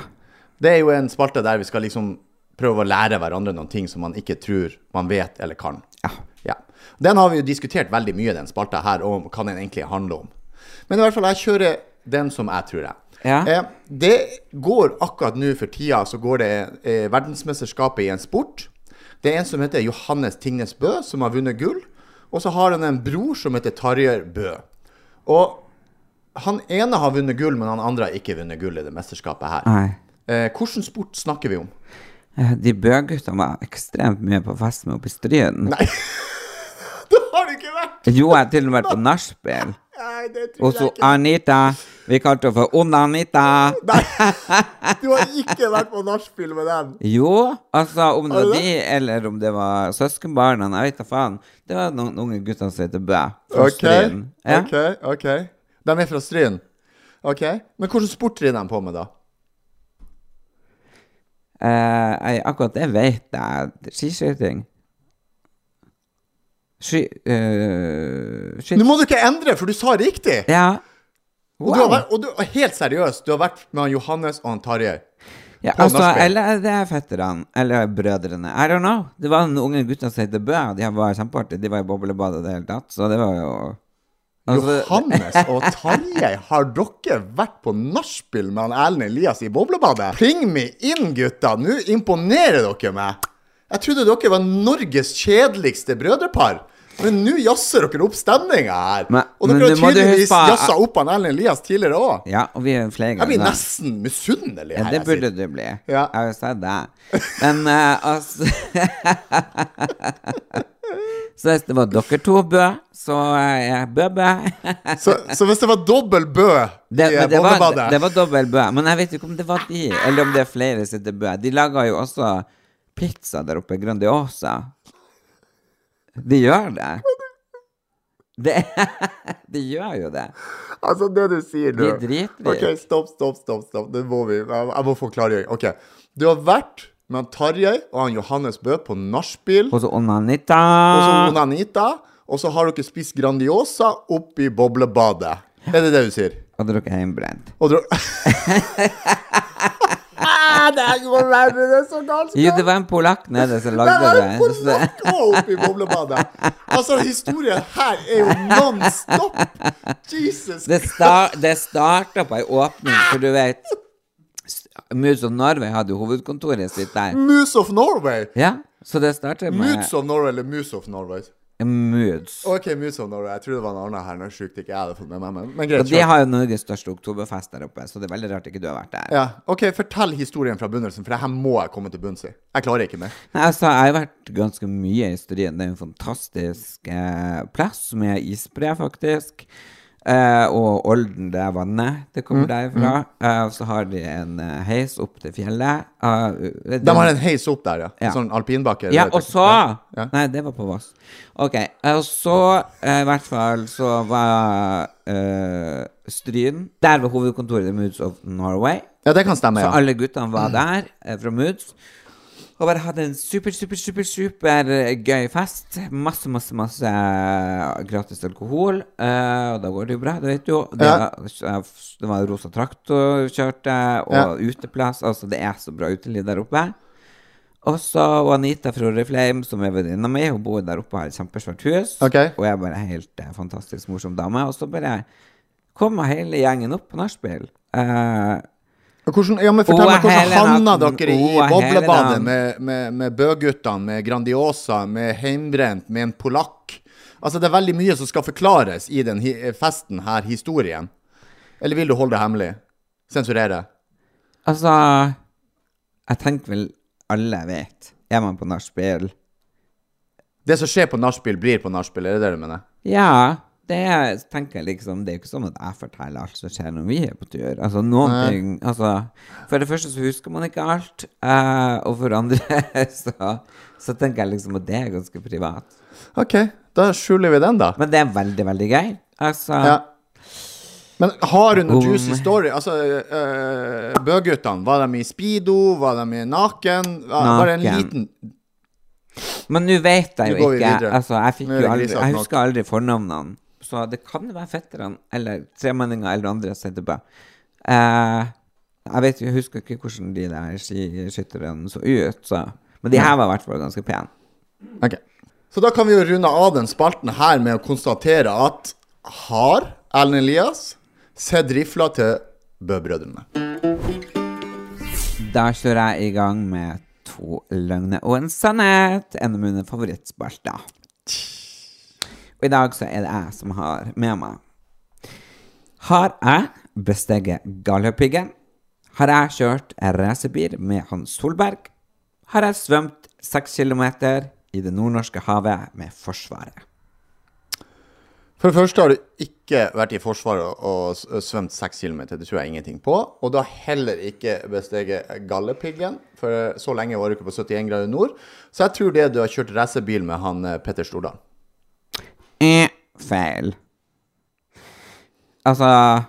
S5: Det er jo en spalte der vi skal liksom prøve å lære hverandre noen ting som man ikke tror man vet eller kan.
S4: Ja.
S5: Ja. Den har vi jo diskutert veldig mye, den spalta her, om hva den egentlig handler om. Men i hvert fall, jeg kjører den som jeg tror jeg.
S4: Ja.
S5: Eh, det går akkurat nå for tida, så går det eh, verdensmesterskapet i en sport. Det er en som heter Johannes Tingnes Bø, som har vunnet gull. Og så har han en bror som heter Tarjei Bø. Og han ene har vunnet gull, men han andre har ikke vunnet gull i det mesterskapet her.
S4: Nei.
S5: Eh, Hvilken sport snakker vi om?
S4: Eh, De Bø-gutta var ekstremt mye på fest med oppe i Stryn.
S5: Det har det ikke vært!
S4: Jo, jeg har til og med vært på nachspiel.
S5: Nei, det
S4: Og
S5: tror
S4: så
S5: jeg ikke.
S4: Anita. Vi kalte henne for Ond-Anita.
S5: Du har ikke vært på nachspiel med den.
S4: Jo, altså om det var
S5: Alle?
S4: de, eller om det var søskenbarna, jeg vet da faen. Det var noen unge gutter som heter Bø. fra
S5: Ok,
S4: Stryn. Ja.
S5: ok, ok. De er fra Stryn. Ok, Men hvilken sport driver de på med, da?
S4: Eh, jeg, akkurat det vet jeg. Skiskyting. Sky... eh, skyt-
S5: Nå må du ikke endre, for du sa riktig!
S4: Ja.
S5: Og, du har
S4: Wow.
S5: vært, og du, og helt seriøst, du har vært med han Johannes og han Tarjei.
S4: ja
S5: på
S4: altså,
S5: nachspiel.
S4: eller det er fetterne. Eller brødrene. I don't know. Det var noen unge gutter som heter Bø. De var kjempeartige. De var i boblebadet i det hele tatt, så det var jo Altså-
S5: Johannes og Tarjei, har dere vært på nachspiel med han Erlend Elias i boblebadet? Pling meg inn, gutta! Nå imponerer dere meg! Jeg trodde dere var Norges kjedeligste brødrepar. Men nå jazzer dere opp stemninga her.
S4: Men-
S5: og
S4: men
S5: dere har
S4: nå må du
S5: tydeligvis
S4: huske på-
S5: jazza opp han Erlend Elias tidligere òg.
S4: Ja, og vi er flere
S5: Jeg blir
S4: ganger.
S5: nesten misunnelig
S4: Ja,
S5: her.
S4: det
S5: jeg
S4: burde du
S5: sier.
S4: bli.
S5: Ja.
S4: Jeg har jo sett deg. Men eh, altså Så hvis det var dere to, Bø, så er jeg Bø-Bø.
S5: Så, så hvis det var dobbel bø
S4: Det,
S5: i
S4: men det, var,
S5: bondebadet
S4: det var dobbel Bø. Men jeg vet ikke om det var de, eller om det er flere som heter Bø. De lager jo også pizza der oppe, Grandiosa. De gjør det. det de gjør jo det.
S5: Altså, det du sier nå
S4: Vi driter i.
S5: OK, stopp, stopp, stopp. stopp. Det må vi. Jeg, jeg må få klargjøring. OK. Du har vært med han Tarjei og han Johannes Bø på nachspiel
S4: Og så Onanita.
S5: og så Onanita, og så har dere spist Grandiosa oppi boblebadet. Er det det du sier?
S4: Og drukket hjemmebrent.
S5: Og dere Ah, Det er ikke verre, det er så galskap!
S4: Jo, det var en polakk nede som
S5: Det
S4: lagde
S5: var
S4: det.
S5: en
S4: så-
S5: polakk også oppe i boblebadet! Altså, historien her er jo non stop! Jesus
S4: Det, sta- det starta på ei åpning, for du vet s- Moods of Norway hadde jo hovedkontoret sitt der.
S5: Moose of Norway!
S4: Ja, så det starta med
S5: Mm. Moods of Norway eller Moose of Norway?
S4: Moods.
S5: Ok, Moose of Norway. Jeg trodde det var en annen her. Nå er det sjukt ikke jeg hadde fått med meg, men, men
S4: Og
S5: greit.
S4: de
S5: kjør.
S4: har jo Norges største oktoberfest der oppe, så det er veldig rart ikke du har vært der.
S5: Ja. Ok, fortell historien fra begynnelsen, for det her må jeg komme til bunns i. Jeg klarer ikke mer.
S4: Nei, altså, jeg har vært ganske mye i Stryn. Det er en fantastisk eh, plass med isbre, faktisk. Eh, og Olden, det er vannet det
S5: Mm.
S4: kommer derfra. Eh, og så har de en eh, heis opp til fjellet. Eh,
S5: De har en heis opp der, ja.
S4: Ja.
S5: Sånn alpinbakke.
S4: Ja,
S5: det heter.
S4: og så
S5: Ja.
S4: Nei, det var på Voss. Ok. eh, Og så, eh, i hvert fall, så var eh, Stryn Der var hovedkontoret til Moods of Norway.
S5: Ja, Mm. det kan stemme,
S4: Så
S5: ja.
S4: alle guttene var der eh, fra Moods. Og bare hadde en super, super, super, super eh, gøy fest. Masse, masse, masse gratis alkohol. Eh, og da går det jo bra, det vet du jo. Det,
S5: Ja.
S4: var- det var Rosa Traktor kjørte, og uteplass. Altså, det er så bra uteliv der oppe. Og så og Anita fra Oriflame, som er venninna mi, hun bor der oppe og har et kjempesvært hus.
S5: Ok.
S4: Og er bare helt eh, fantastisk morsom dame. Og så bare kommer hele gjengen opp på nachspiel. Eh,
S5: Og Hvordan, ja, men fortell
S4: Å,
S5: meg hvordan
S4: hele
S5: havna
S4: natten.
S5: dere i
S4: Å, hele
S5: boblebadet
S4: dagen.
S5: med, med, med Bø-guttene, med Grandiosa, med Heimbrent, med en polakk? Altså, det er veldig mye som skal forklares i den hi festen her, historien. Eller vil du holde det hemmelig? Sensurere?
S4: Altså Jeg tenker vel alle vet. Er man på nachspiel?
S5: Det som skjer på nachspiel, blir på nachspiel, er det det du mener?
S4: Ja. Det er- tenker jeg liksom Det er jo ikke sånn at jeg forteller alt som skjer når vi er på tur. Altså noen ting altså, For det første så husker man ikke alt. eh, og for det andre så, så tenker jeg liksom at det er ganske privat.
S5: OK, da skjuler vi den, da.
S4: Men det er veldig, veldig gøy. Altså
S5: Ja. Men har du noen
S4: Om-
S5: juicy story? Altså, øh, Bø-guttene, var de i speedo? Var de i naken? Var, var det en
S4: Naken.
S5: liten
S4: Men nå vet jeg
S5: Nå
S4: jo
S5: går vi
S4: ikke.
S5: videre.
S4: Altså, jeg, fikk
S5: Nå er
S4: jo
S5: det
S4: aldri,
S5: grisete
S4: jeg
S5: nok.
S4: husker aldri fornavnene. Så det kan være fetterne eller tremenninger eller andre som heter Bø. Eh, jeg vet, jeg husker ikke hvordan de der skiskytterne så ut, så. men de her var i hvert fall ganske pene.
S5: Ok. Så da kan vi jo runde av den spalten her med å konstatere at har Erlend Elias sett rifla til Bø-brødrene?
S4: Da kjører jeg i gang med to løgner og en sannhet. En av mine favorittspalter. Og i dag så er det jeg som har med meg. Har jeg besteget Galdhøpiggen? Har jeg kjørt racerbil med Hans Solberg? Har jeg svømt seks kilometer i det nordnorske havet med Forsvaret?
S5: For det første har du ikke vært i Forsvaret og s- svømt seks kilometer. Det tror jeg ingenting på. Og du har heller ikke besteget Galdhøpiggen, for så lenge var du ikke på 71 grader nord. Så jeg tror det er du har kjørt racerbil med han eh, Petter Stordalen.
S4: Eh, feil. Altså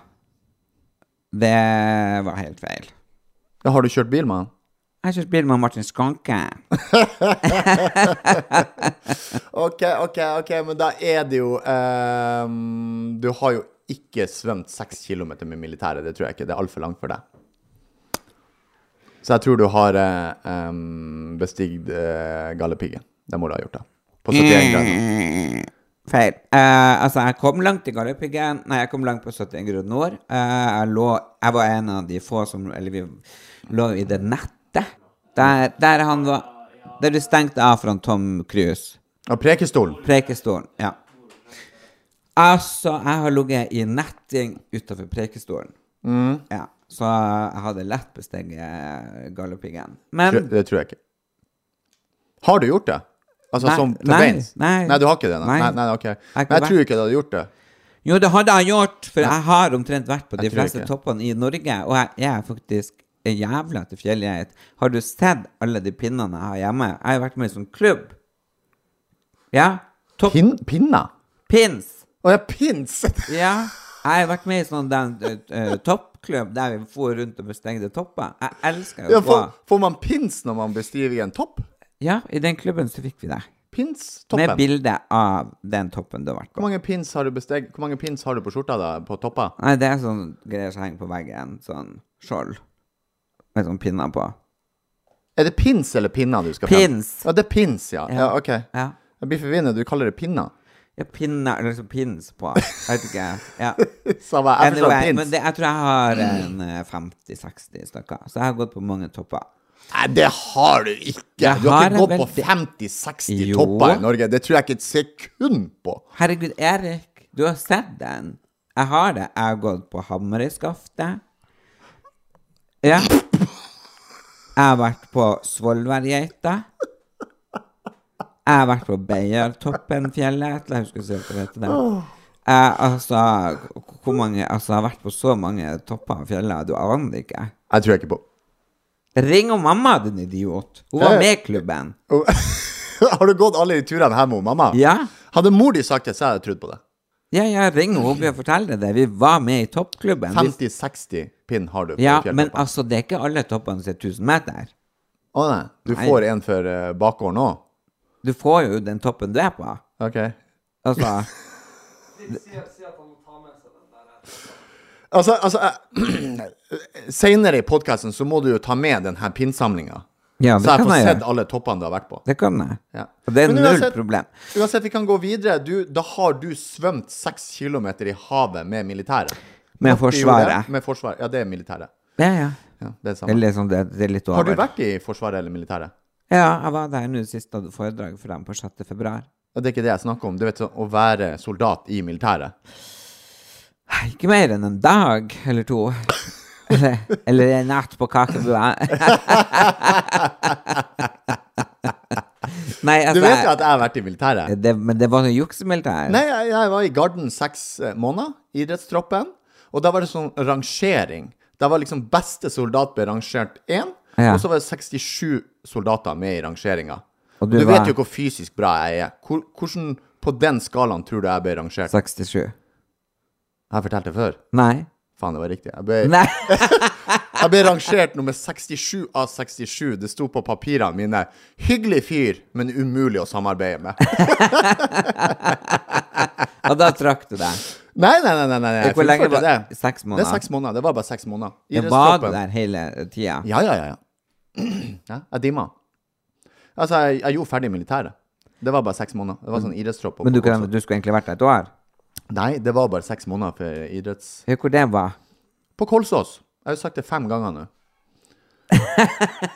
S4: Det var helt feil.
S5: Ja, har du kjørt bil med han?
S4: Jeg har kjørt bil med Martin Skanke.
S5: Ok, ok, ok, men da er det jo ehm, Du har jo ikke svømt seks kilometer med militæret, det tror jeg ikke. Det er altfor langt for deg. Så jeg tror du har eh, ehm, bestigd uh, Galdhøpiggen. Det må du ha gjort, da. På 71 grader.
S4: Feil. Eh, altså, jeg kom langt i Galdhøpiggen. Nei, jeg kom langt på 71 grader nord. Eh, jeg, lå, jeg var en av de få som Eller vi lå i det nettet. Der, der han var Der du stengte av fra Tom Cruise.
S5: Og Prekestolen.
S4: Preikestolen. Ja. Altså, jeg har ligget i netting utafor Preikestolen. Ja. Så jeg hadde lett besteget Galdhøpiggen. Men
S5: Tr- Det tror jeg ikke. Har du gjort det? Altså
S4: Nei,
S5: som til
S4: nei,
S5: beins?
S4: nei.
S5: du har ikke det? Nei,
S4: Nei.
S5: nei, nei ok.
S4: kan
S5: Men jeg
S4: være-
S5: tror ikke du hadde gjort det.
S4: Jo, det hadde jeg gjort, for jeg har omtrent vært på de
S5: Jeg tror
S4: fleste
S5: ikke.
S4: toppene i Norge, og jeg er faktisk en jævla til fjellgeit. Har du sett alle de pinnene jeg har hjemme? Jeg har vært med i sånn klubb. Ja? Topp
S5: Pin, pinna?
S4: pins.
S5: Å ja, pins!
S4: Ja. Jeg har vært med i sånn den, eh, toppklubb der vi for rundt og bestengte topper. Jeg elsker jo
S5: Ja,
S4: å gå.
S5: får, får man pins når man bestiger en topp?
S4: Ja, i den klubben så fikk vi det.
S5: Pins-toppen?
S4: Med bilde av den toppen du har vært
S5: Hvor
S4: på.
S5: mange pins har du besteg... Hvor mange pins har du på skjorta da, på toppa?
S4: Nei, det er sånn greier som henger på veggen. Sånn skjold. Med sånn pinner på.
S5: Er det pins eller pinner du skal
S4: Pins.
S5: Ja, det er pins, ja. Ja, ok.
S4: Ja.
S5: Jeg blir forvirret, du kaller det pinner.
S4: Ja, pinner Eller liksom pins på. Jeg vet ikke. Ja.
S5: Samme, jeg forstår
S4: Anyway, men
S5: pins. Mm.
S4: det, jeg tror jeg har en eh, 50-60 stykker. Så jeg har gått på mange topper.
S5: Nei, det har du ikke!
S4: Jeg
S5: Du har
S4: har
S5: ikke gått
S4: vel
S5: på
S4: det.
S5: 50-60
S4: Jo.
S5: topper i Norge. Det tror jeg ikke et sekund på.
S4: Herregud, Erik, du har sett den. Jeg har det. Jeg har gått på Hamarøyskaftet. Ja. Jeg har vært på Svolværgeita. Jeg har vært på Beiertoppenfjellet. Jeg husker ikke hva det heter. der. Eh, altså, hvor mange, altså, jeg har vært på så mange topper og fjeller, du aner ikke.
S5: Jeg tror ikke på.
S4: Ring om mamma, din idiot. Hun
S5: Ja, ja.
S4: var med i klubben.
S5: Og- har du gått alle de turene her med mamma?
S4: Ja.
S5: Hadde mor di sagt det, så hadde jeg trodd på det.
S4: Ja, ja, ring henne opp og fortell deg det. Vi var med i toppklubben. Vi,
S5: 50-60 pinn har du på
S4: ja,
S5: fjelltoppa.
S4: men altså, det er ikke alle toppene som er 1000 meter.
S5: Å nei, du
S4: Nei.
S5: får en for eh, bakgården òg?
S4: Du får jo den toppen du er på.
S5: OK.
S4: Altså,
S5: Altså, altså Seinere i podkasten så må du jo ta med denne pinnsamlinga.
S4: ja,
S5: så
S4: det
S5: jeg
S4: kan
S5: får
S4: jeg
S5: sett
S4: gjøre.
S5: alle toppene du har vært på.
S4: Det kan jeg.
S5: Ja.
S4: Og det er
S5: Men
S4: null
S5: uansett-
S4: problem.
S5: Uansett, vi kan gå videre. Du, da har du svømt seks kilometer i havet med militæret.
S4: Med
S5: At de gjorde det
S4: Forsvaret.
S5: Med forsvaret. Ja, det er militæret.
S4: Ja, ja.
S5: Ja, det er det samme.
S4: Eller sånn, det, det er litt over.
S5: Har du vært i Forsvaret eller militæret?
S4: Ja, jeg var der nå sist da du foredrag for dem på 6. februar.
S5: Ja, Det er ikke det jeg snakker om. Du vet, sånn, Å være soldat i militæret.
S4: Nei, Ikke mer enn en dag eller to. Eller, eller en natt på kakebua. Nei,
S5: Du
S4: altså eh,
S5: vet jo at jeg har vært i militæret?
S4: det, Men det var noe juksemilitær.
S5: Nei, jeg, jeg var i Garden seks eh, måneder, idrettstroppen. Og da var det sånn rangering. Da var liksom beste soldat ble rangert én,
S4: Ja.
S5: og så var det 67 soldater med i rangeringa.
S4: Og
S5: Du,
S4: du var-
S5: vet jo hvor fysisk bra jeg er. Hvor, hvordan på den skalaen tror du jeg ble rangert?
S4: 67.
S5: Jeg har fortalt det før.
S4: Nei.
S5: Faen, det var riktig. Jeg ble,
S4: Nei.
S5: jeg ble rangert nummer 67 av 67. Det sto på papirene mine 'hyggelig fyr, men umulig å samarbeide med'.
S4: Og da trakk du deg.
S5: Nei, nei, nei. nei, nei. jeg
S4: Hvor lenge var
S5: fullførte
S4: det?
S5: det?
S4: Seks
S5: Det er
S4: måneder.
S5: seks måneder. Det var bare seks måneder.
S4: Jeg var
S5: Idrettstroppen.
S4: der hele tida.
S5: Ja, ja, ja. ja. ja jeg dimma. Altså, jeg, jeg gjorde ferdig militæret. Det var bare seks måneder. Det var sånn idrettstropp. og-
S4: Men du, kan, du skulle egentlig vært der et år.
S5: Nei, det var bare seks måneder for idretts...
S4: Hør hvor det var.
S5: På Kolsås. Jeg har jo sagt det fem ganger nå.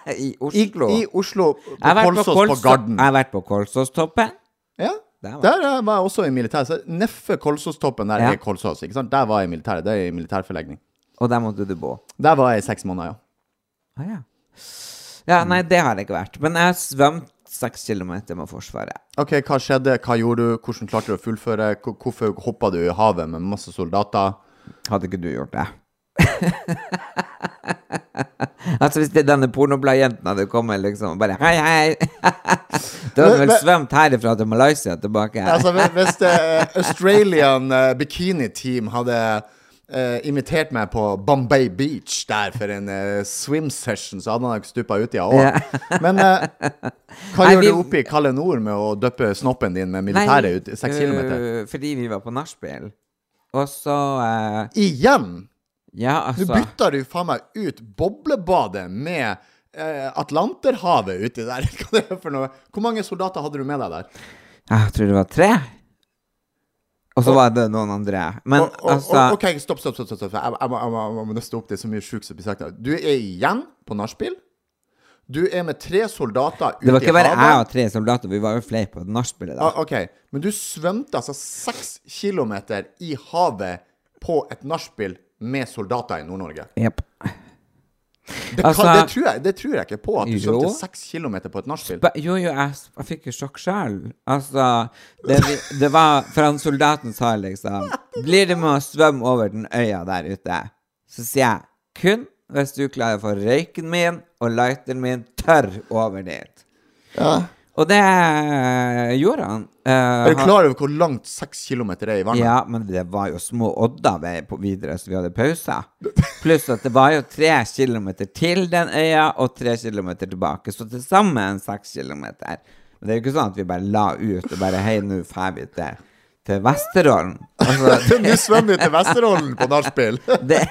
S4: I
S5: I
S4: Oslo.
S5: Oslo. I Oslo på
S4: jeg, har vært
S5: Kolsås på,
S4: Kolså-
S5: Garden.
S4: jeg har vært på Kolsåstoppen.
S5: Ja.
S4: Der var-
S5: Der eh, var jeg også i militæret. Så Neffe Kolsåstoppen, der
S4: Ja.
S5: er Kolsås. ikke sant? Der var jeg i militæret. Det er i militærforlegning.
S4: Og der måtte du bo.
S5: Der var jeg i seks måneder, ja.
S4: Ah, ja. ja, nei,
S5: Mm.
S4: det har jeg ikke vært. Men jeg har svømt seks kilometer med Forsvaret.
S5: OK, hva skjedde? Hva gjorde du? Hvordan klarte du å fullføre? Hvor- Hvorfor hoppa du i havet med masse soldater?
S4: Hadde ikke du gjort det? altså Hvis det denne pornobladjenten hadde kommet liksom bare Hei, hei! da hadde du vel
S5: Men-
S4: svømt herifra til Malaysia tilbake.
S5: Altså, hvi- hvis eh, Australian eh, Bikini Team hadde eh, invitert meg på Bombay Beach der for en eh, swim session, så hadde han nok stupa uti av
S4: Ja.
S5: òg. Men eh, hva
S4: Nei,
S5: gjør
S4: vi-
S5: du oppe i Kalle Nord med å døppe snoppen din med
S4: Nei,
S5: militæret ut seks
S4: øh,
S5: kilometer?
S4: Fordi vi var på nachspiel. Og så eh,
S5: Igjen!
S4: Ja,
S5: Nå
S4: altså
S5: bytter du faen meg ut boblebadet med eh, Atlanterhavet uti der. Hva det er for noe? Hvor mange soldater hadde du med deg der?
S4: Jeg tror det var tre. Og så var det noen andre. Men
S5: Og- og-
S4: altså
S5: og- OK, stopp, stopp, stopp. stopp, stopp. Jeg, jeg, må- jeg, må- jeg må nøste opp det er så mye sjukt som blir sagt. her. Du er igjen på nachspiel. Du er med tre soldater ute i havet.
S4: Det var ikke bare jeg og tre soldater, vi var jo flere på nachspielet da.
S5: Ah, OK, men du svømte altså seks kilometer i havet på et nachspiel med soldater i Nord-Norge.
S4: Jep.
S5: Det, kan-
S4: Altså-
S5: det, tror jeg- det tror jeg ikke på, at du
S4: Jo.
S5: svømte seks kilometer på et nachspiel.
S4: Ba- Jo, jo, jeg, s- jeg fikk jo sjokk sjøl. Altså det, vi- det var For han soldaten sa liksom Blir det med å svømme over den øya der ute? Så sier jeg kun hvis du klarer å få røyken min og lighteren min tørr over dit. Og det eh, gjorde han. Eh,
S5: Er du
S4: han-
S5: klar over hvor langt seks kilometer er i vannet?
S4: Ja, men det var jo små odder ved- på videre, så vi hadde pauser. Pluss at det var jo tre kilometer til den øya, og tre kilometer tilbake. Så til sammen seks kilometer. Men det er jo ikke sånn at vi bare la ut og bare Hei, nå drar vi til, til Vesterålen. Altså,
S5: Nå svømmer vi til Vesterålen på nachspiel!
S4: det,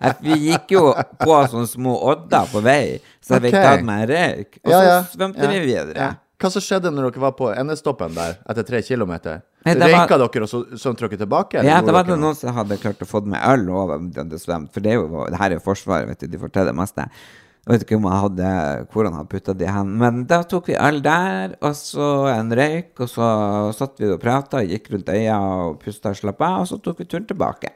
S4: at vi gikk jo på sånne små odder på vei, så jeg fikk
S5: Ok.
S4: tatt meg en røyk. Og så svømte
S5: ja,
S4: vi videre.
S5: ja. Hva som skjedde når dere var på endestoppen der, etter tre kilometer?
S4: Nei, det
S5: Røyka
S4: var-
S5: dere, og så svømte dere tilbake? eller
S4: Ja,
S5: gjorde
S4: det var
S5: dere
S4: det noen som hadde klart å få med øl over om de hadde svømt. For det, er jo, det her er jo Forsvaret, vet du. De får til det meste. Jeg vet ikke om jeg hadde, hvor han hadde putta de hen. Men da tok vi øl der, og så en røyk, og så satt vi og prata, gikk rundt øya og pusta og slappa av, og så tok vi turen tilbake.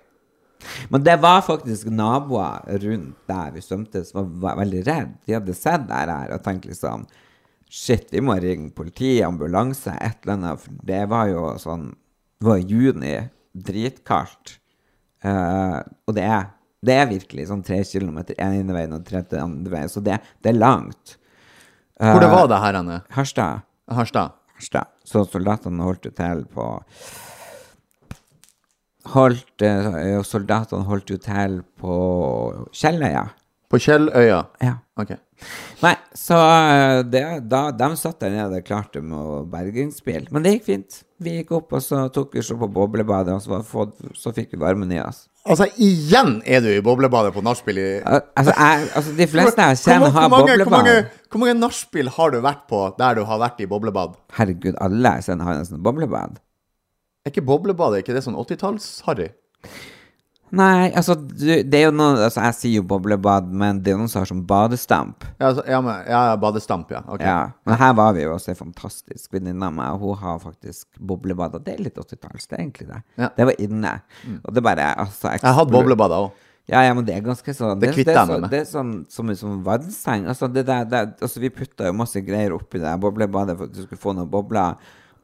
S4: Men det var faktisk naboer rundt der vi svømte, som var, var veldig redd. De hadde sett det her og tenkt liksom Shit, vi må ringe politi, ambulanse, et eller annet. For det var jo sånn Det var i juni, dritkaldt. Eh, og det er, det er virkelig sånn tre kilometer én ene veien og tre til andre veien, så det, det er langt.
S5: noe?
S4: Eh.
S5: Hvor det var det her, Anne?
S4: Harstad.
S5: Harstad?
S4: Harstad. Så soldatene holdt jo til på Holdt, eh, soldatene holdt jo til på Kjelløya.
S5: På På Kjelløya?
S4: Ja.
S5: Ok.
S4: Nei, så eh, det, da, de satt der nede klarte med å bergingsbil. Men det gikk fint. Vi gikk opp, og så tok vi så på boblebadet, og så, var, fått- så fikk vi varmen i oss.
S5: Altså, igjen er du i boblebadet på nachspiel i
S4: Al- Altså, jeg, altså de fleste jeg
S5: Hvor-
S4: kjenner, har
S5: hvor mange- hvor
S4: boblebad.
S5: mange- Hvor mange nachspiel har du vært på der du har vært i boblebad?
S4: Herregud, alle jeg kjenner, har nesten boblebad.
S5: Er ikke boblebad er ikke det sånn 80-talls-harry?
S4: Nei, altså, du, det er jo noen Altså, jeg sier jo boblebad, men det er noen som har sånn badestamp.
S5: Ja, altså, ja, men- ja, badestamp, ja. Ok.
S4: Ja. Men her var vi jo også ei fantastisk venninne av meg, og hun har faktisk boblebad. Og det er litt 80-talls, det er egentlig det.
S5: Ja. Mm.
S4: Det var inne. Og det bare altså,
S5: Jeg har hatt
S4: eksplo-
S5: boblebad òg.
S4: Ja, ja, men det er ganske sånn
S5: Det kvitter
S4: er
S5: jeg meg
S4: så-
S5: med.
S4: Det er sånn som en sånn vannseng. Altså, det der, der, altså, vi putta jo masse greier oppi det der boblebadet for at du skulle få noen bobler.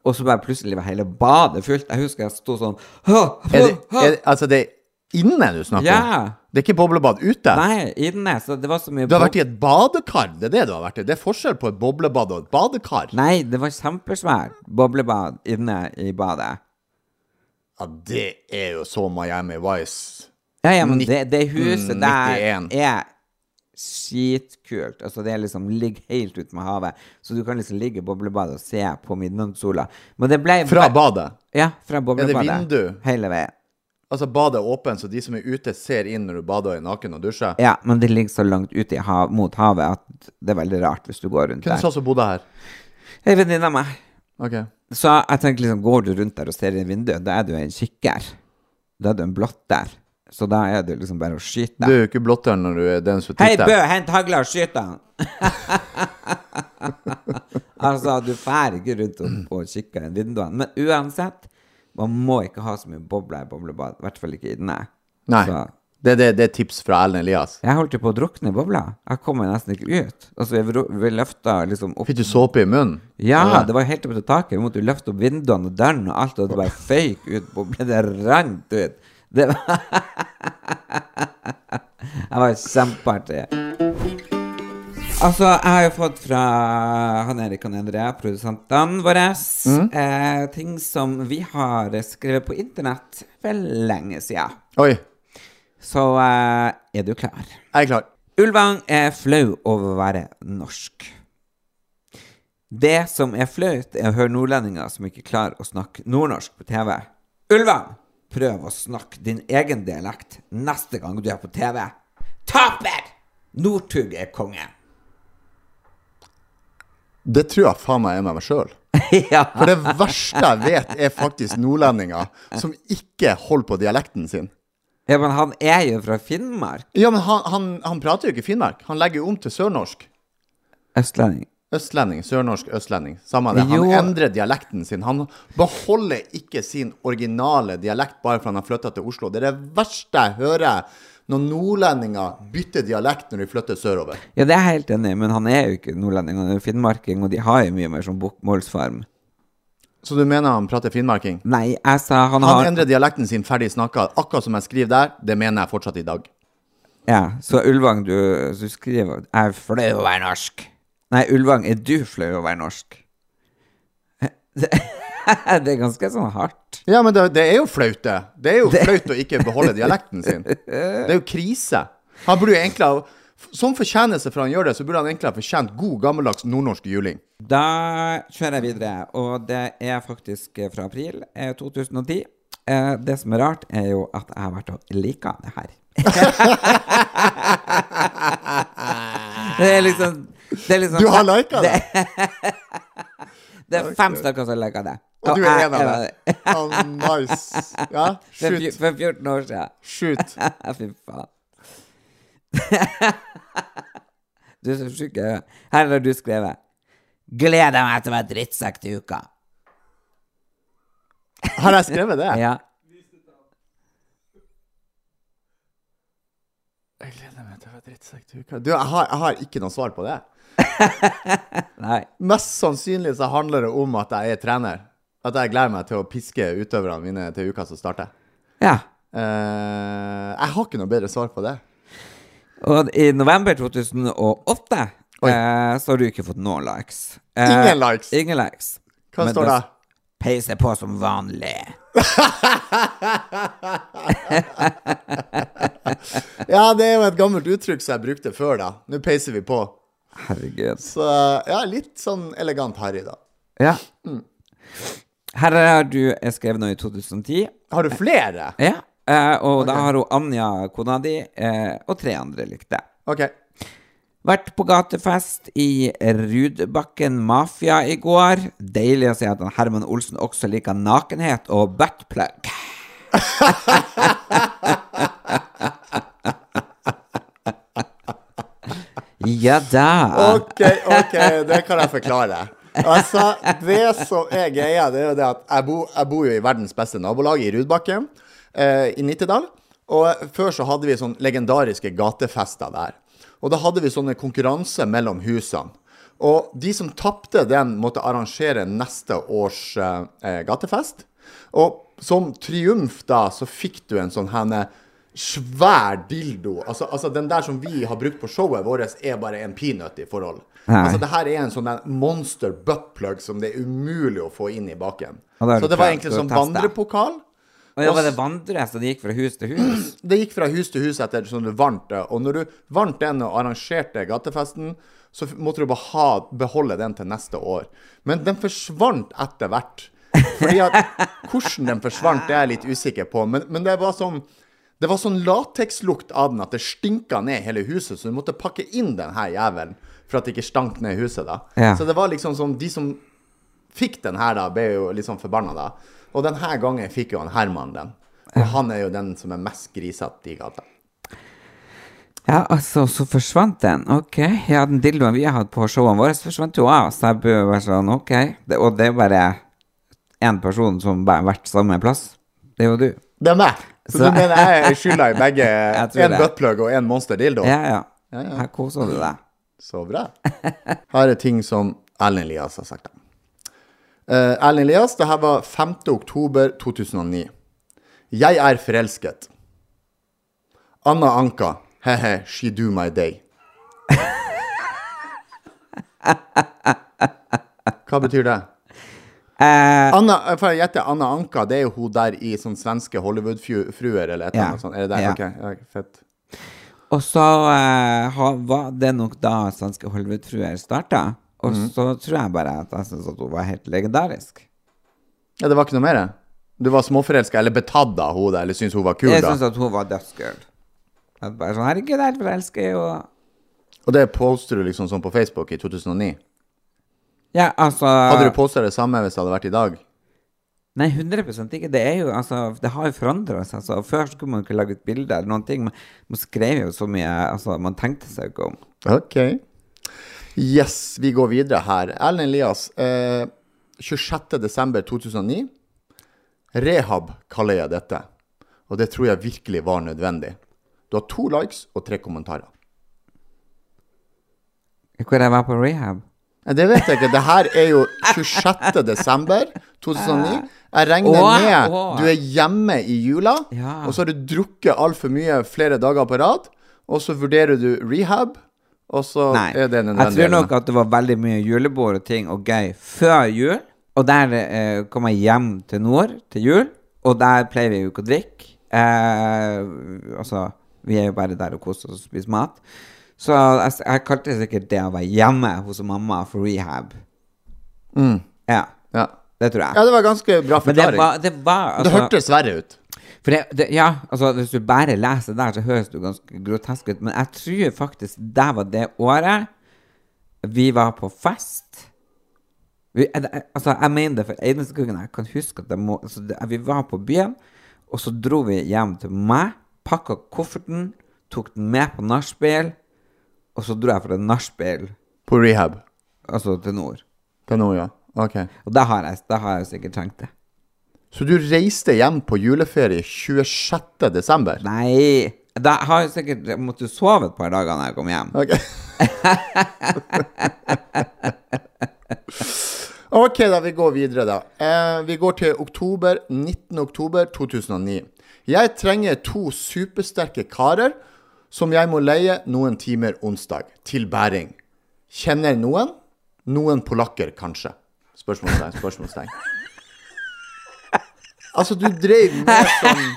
S4: Og så bare plutselig var hele badet fullt. Jeg husker jeg sto sånn hå, hå,
S5: Er det,
S4: hå.
S5: er, altså, det er inne du snakker om?
S4: Ja!
S5: Det er ikke boblebad ute?
S4: Nei, inne. Så det var så mye
S5: Du har
S4: bob-
S5: vært i et badekar? Det er det du har vært i? Det er forskjell på et boblebad og et badekar?
S4: Nei, det var kjempesvært boblebad inne i badet.
S5: Ja, det er jo så Miami Vice.
S4: Ja, ja, men det, det
S5: mm,
S4: huset der
S5: 1991.
S4: er skitkult. Altså, det er liksom ligger helt ut med havet. Så du kan liksom ligge i boblebadet og se på midnattssola. Men det ble
S5: Fra badet.
S4: Ja, fra boblebadet.
S5: vindu?
S4: Hele veien.
S5: Altså, badet er åpent, så de som er ute, ser inn når du bader og er naken og dusjer.
S4: Ja, men det ligger så langt ut i hav, mot havet at det er veldig rart hvis du går rundt
S5: Hvem
S4: der.
S5: sa som bodde her?
S4: Ei venninne av meg.
S5: Ok.
S4: Så jeg tenker liksom, går du rundt der og ser inn i vinduet, da er du en kikker. Da er du en blotter. Så da er det liksom bare å skyte.
S5: Du er jo ikke blotter når du er den som
S4: Hei, Bø,
S5: titter.
S4: hent hagla og skyt han! altså, du fær ikke rundt og, og kikker inn vinduene. Men uansett, man må ikke ha så mye bobler i boblebad. I hvert fall ikke inne.
S5: Nei.
S4: Så,
S5: Det, det, det er tips fra Ellen Elias.
S4: jeg holdt jo på å drukne i bobla. Jeg kom meg nesten ikke ut. Altså, jeg vro- vi løfta liksom opp
S5: Fikk du såpe i munnen?
S4: Ja, det var helt opp til taket. Vi måtte jo løfte opp vinduene og dørene og alt, og det bare føyk ut bobler. Det rant ut. Det var Det var kjempeartig. Altså, jeg har jo fått fra han Erik og Andrea, produsentene våre, eh, ting som vi har skrevet på internett for lenge sida.
S5: Oi,
S4: Så eh, er du klar?
S5: jeg er klar.
S4: Ulvang er flau over å være norsk. Det som er flaut, er å høre nordlendinger som ikke klarer å snakke nordnorsk på TV. Ulvang, prøv å snakke din egen dialekt neste gang du er på TV. Taper! Northug er konge.
S5: Det tror jeg faen meg er med meg sjøl.
S4: ja.
S5: For det verste jeg vet, er faktisk nordlendinger som ikke holder på dialekten sin.
S4: ja, men han er jo fra Finnmark.
S5: Ja, men han, han, han prater jo ikke Finnmark. Han legger jo om til sørnorsk.
S4: Østlending.
S5: Østlending, sørnorsk, østlending. Samme det. Han
S4: Jo.
S5: endrer dialekten sin. Han beholder ikke sin originale dialekt bare fordi han har flytta til Oslo. Det er det verste jeg hører når nordlendinger bytter dialekt når de flytter sørover.
S4: Ja, det er jeg helt enig i, men han er jo ikke nordlending, han er jo finnmarking, og de har jo mye mer sånn bokmålsform.
S5: Så du mener han prater finnmarking?
S4: Nei, jeg sa han har
S5: Han endrer dialekten sin ferdig snakka, akkurat som jeg skriver der. Det mener jeg fortsatt i dag.
S4: Ja, så Ulvang, du, du skriver at Jeg er flau over å være norsk. Nei, Ulvang, er du flau over å være norsk? Det, det er ganske sånn hardt.
S5: Ja, men det, det er jo flaut, det. Det er jo flaut å ikke beholde dialekten sin. Det er jo krise. Han burde jo egentlig ha Som fortjeneste for han gjør det, så burde han egentlig ha fortjent god, gammeldags nordnorsk juling.
S4: Da kjører jeg videre, og det er faktisk fra april eh, 2010. Eh, Det som er rart, er jo at jeg har vært og lika det her. Det er liksom Det er, liksom,
S5: Du har lika det.
S4: det er fem stykker som liker det.
S5: Og du er
S4: jeg
S5: en av
S4: var
S5: dem. Oh, nice. Ja,
S4: For fj-
S5: shoot.
S4: for 14 år siden.
S5: Shoot.
S4: Fy faen. du er så sjuk. jeg. Her har du skrevet 'Gleder meg til å være drittsekk til uka'.
S5: Har jeg skrevet det?
S4: Ja.
S5: Jeg gleder meg til å være drittsekk til uka. Du, jeg har, jeg har ikke noe svar på det.
S4: Nei.
S5: Mest sannsynlig så handler det om at jeg er trener. At jeg gleder meg til å piske utøverne mine til uka som starter.
S4: Ja.
S5: Eh, jeg har ikke noe bedre svar på det.
S4: Og i november 2008 eh, så har du ikke fått noen likes. Eh,
S5: Ingen likes.
S4: Ingen likes.
S5: Hva
S4: Men
S5: står det?
S4: peiser på som vanlig.
S5: Ja, det er jo et gammelt uttrykk som jeg brukte før, da. Nå peiser vi på.
S4: Herregud.
S5: Så ja, litt sånn elegant harry, da.
S4: Ja. Her har du jeg skrev noe i 2010.
S5: Har du flere?
S4: Ja. eh, og da har hun Anja, kona di, eh, og tre andre likte.
S5: OK.
S4: Vært på gatefest i Rudbakken Mafia i går. Deilig å se at han Herman Olsen også liker nakenhet og buttplug. ja da.
S5: OK, ok, det kan jeg forklare. Altså, Det som er greia, det er jo det at jeg, bo, jeg bor jo i verdens beste nabolag, i Rudbakken, eh, i Nittedal. Og før så hadde vi sånn legendariske gatefester der. Og da hadde vi sånne konkurranser mellom husene. Og de som tapte den, måtte arrangere neste års eh, eh, gatefest. Og som triumf da, så fikk du en sånn henne svær dildo. Altså, altså den der som vi har brukt på showet vårt, er bare en peanøtt i forhold.
S4: Nei.
S5: Altså det her er en sånn der monster buttplug som det er umulig å få inn i baken.
S4: Og da er
S5: Så
S4: du
S5: det var
S4: klar
S5: egentlig
S4: til å
S5: sånn
S4: teste.
S5: vandrepokal.
S4: Og det var det vandre, så de gikk fra hus til hus.
S5: Det gikk fra hus til hus etter som du vant det. Og når du vant den og arrangerte gatefesten, så f- måtte du bare ha, beholde den til neste år. Men den forsvant etter hvert. Fordi at hvordan den forsvant, det er jeg litt usikker på. Men, men det var sånn det var sånn latekslukt av den at det stinka ned hele huset, så du måtte pakke inn den her jævelen for at det ikke stank ned huset. da.
S4: Ja.
S5: Så det var liksom sånn De som fikk den her, da, ble jo litt sånn forbanna, da. Og denne gangen fikk jo han Herman den. Og han er jo den som er mest grisete i gata.
S4: Ja, altså, så forsvant den. Ok. Ja, den dildoen vi har hatt på showene våre, forsvant jo av. Så jeg bør være sånn, ok. Det, og det er bare én person som bare har vært samme plass. Det er jo du.
S5: Det er meg! Så,
S4: Så-
S5: du mener jeg er skylda i begge?
S4: Jeg tror
S5: En
S4: det.
S5: buttplug og en monster dildo?
S4: Ja, ja. Her koser du deg.
S5: Så bra. Her er ting som Erlend Elias har sagt. Eh, Erlend Elias, det her var 5. oktober 2009. Jeg er forelsket. Anna Anka, he-he, she do my day. Hva betyr det?
S4: Eh,
S5: Anna, eh, for jeg gjetter Anna Anka, det er jo hun der i sånn svenske Hollywood-fruer eller et eller
S4: Ja.
S5: annet sånt. Er det der?
S4: Ja.
S5: Ok, ja, fett.
S4: og så eh, ha- var det nok da svenske Holvedtruer starta. Og
S5: Mhm.
S4: så tror jeg bare at jeg syntes at hun var helt legendarisk.
S5: Ja, det var ikke noe mer? det? Du var småforelska, eller betatt av hun der, eller syntes hun var kul,
S4: Jeg
S5: da?
S4: syns at hun var dødskul. At Bare sånn, herregud, jeg er helt forelsket, og
S5: Og det poster du liksom sånn på Facebook i 2009.
S4: Ja, altså
S5: Hadde du posta det samme hvis det hadde vært i dag?
S4: Nei, 100 ikke. Det er jo, altså, det har jo forandra seg. Altså. Før så kunne man ikke lage et bilde eller noen ting. Men man skrev jo så mye altså, man tenkte seg jo ikke om.
S5: Ok. Yes, vi går videre her. Erlend Elias, eh, 26.12.2009. Rehab kaller jeg dette. Og det tror jeg virkelig var nødvendig. Du har to likes og tre kommentarer.
S4: Hvor jeg var på rehab.
S5: Nei, Det vet jeg ikke. Det her er jo 26. desember 2009. Jeg regner
S4: Åh,
S5: med
S4: åh.
S5: du er hjemme i jula,
S4: Ja.
S5: og så har du drukket altfor mye flere dager på rad, og så vurderer du rehab, og så
S4: Nei.
S5: er
S4: Jeg
S5: det
S4: tror nok
S5: nødvendig.
S4: at det var veldig mye julebord og ting og gøy før jul. Og der eh, kom jeg hjem til nord til jul, og der pleier vi jo ikke å drikke. Eh, altså, vi er jo bare der og koser oss og spiser mat. Så jeg, jeg kalte sikkert det å være hjemme hos mamma for rehab.
S5: Mm.
S4: Ja,
S5: Ja.
S4: det tror jeg.
S5: ja, det var ganske bra
S4: Men det
S5: forklaring.
S4: var, det var
S5: Det
S4: altså,
S5: hørtes verre ut.
S4: for det, det, Ja, altså hvis du bare leser der, så høres du ganske grotesk ut. Men jeg tror faktisk det var det året vi var på fest. Vi, eh, det- altså, jeg mener det for eneste gangen jeg kan huske at det må, altså, det, vi var på byen, og så dro vi hjem til meg, pakka kofferten, tok den med på nachspiel, og så dro jeg fra nachspiel
S5: På rehab.
S4: altså til nord.
S5: Til nå, ja. Ok.
S4: Og da har jeg, da har jeg sikkert trengt det.
S5: Så du reiste hjem på juleferie 26. desember?
S4: Nei Da har jeg sikkert jeg måtte sove et par dager når jeg kom hjem.
S5: Ok. ok, da. Vi går videre, da. Eh, vi går til oktober, 19. oktober 2009. Jeg trenger to supersterke karer som jeg må leie noen timer onsdag, til bæring. Kjenner noen? Noen polakker, kanskje? Spørsmålstegn, spørsmålstegn. Altså, du dreiv med sånn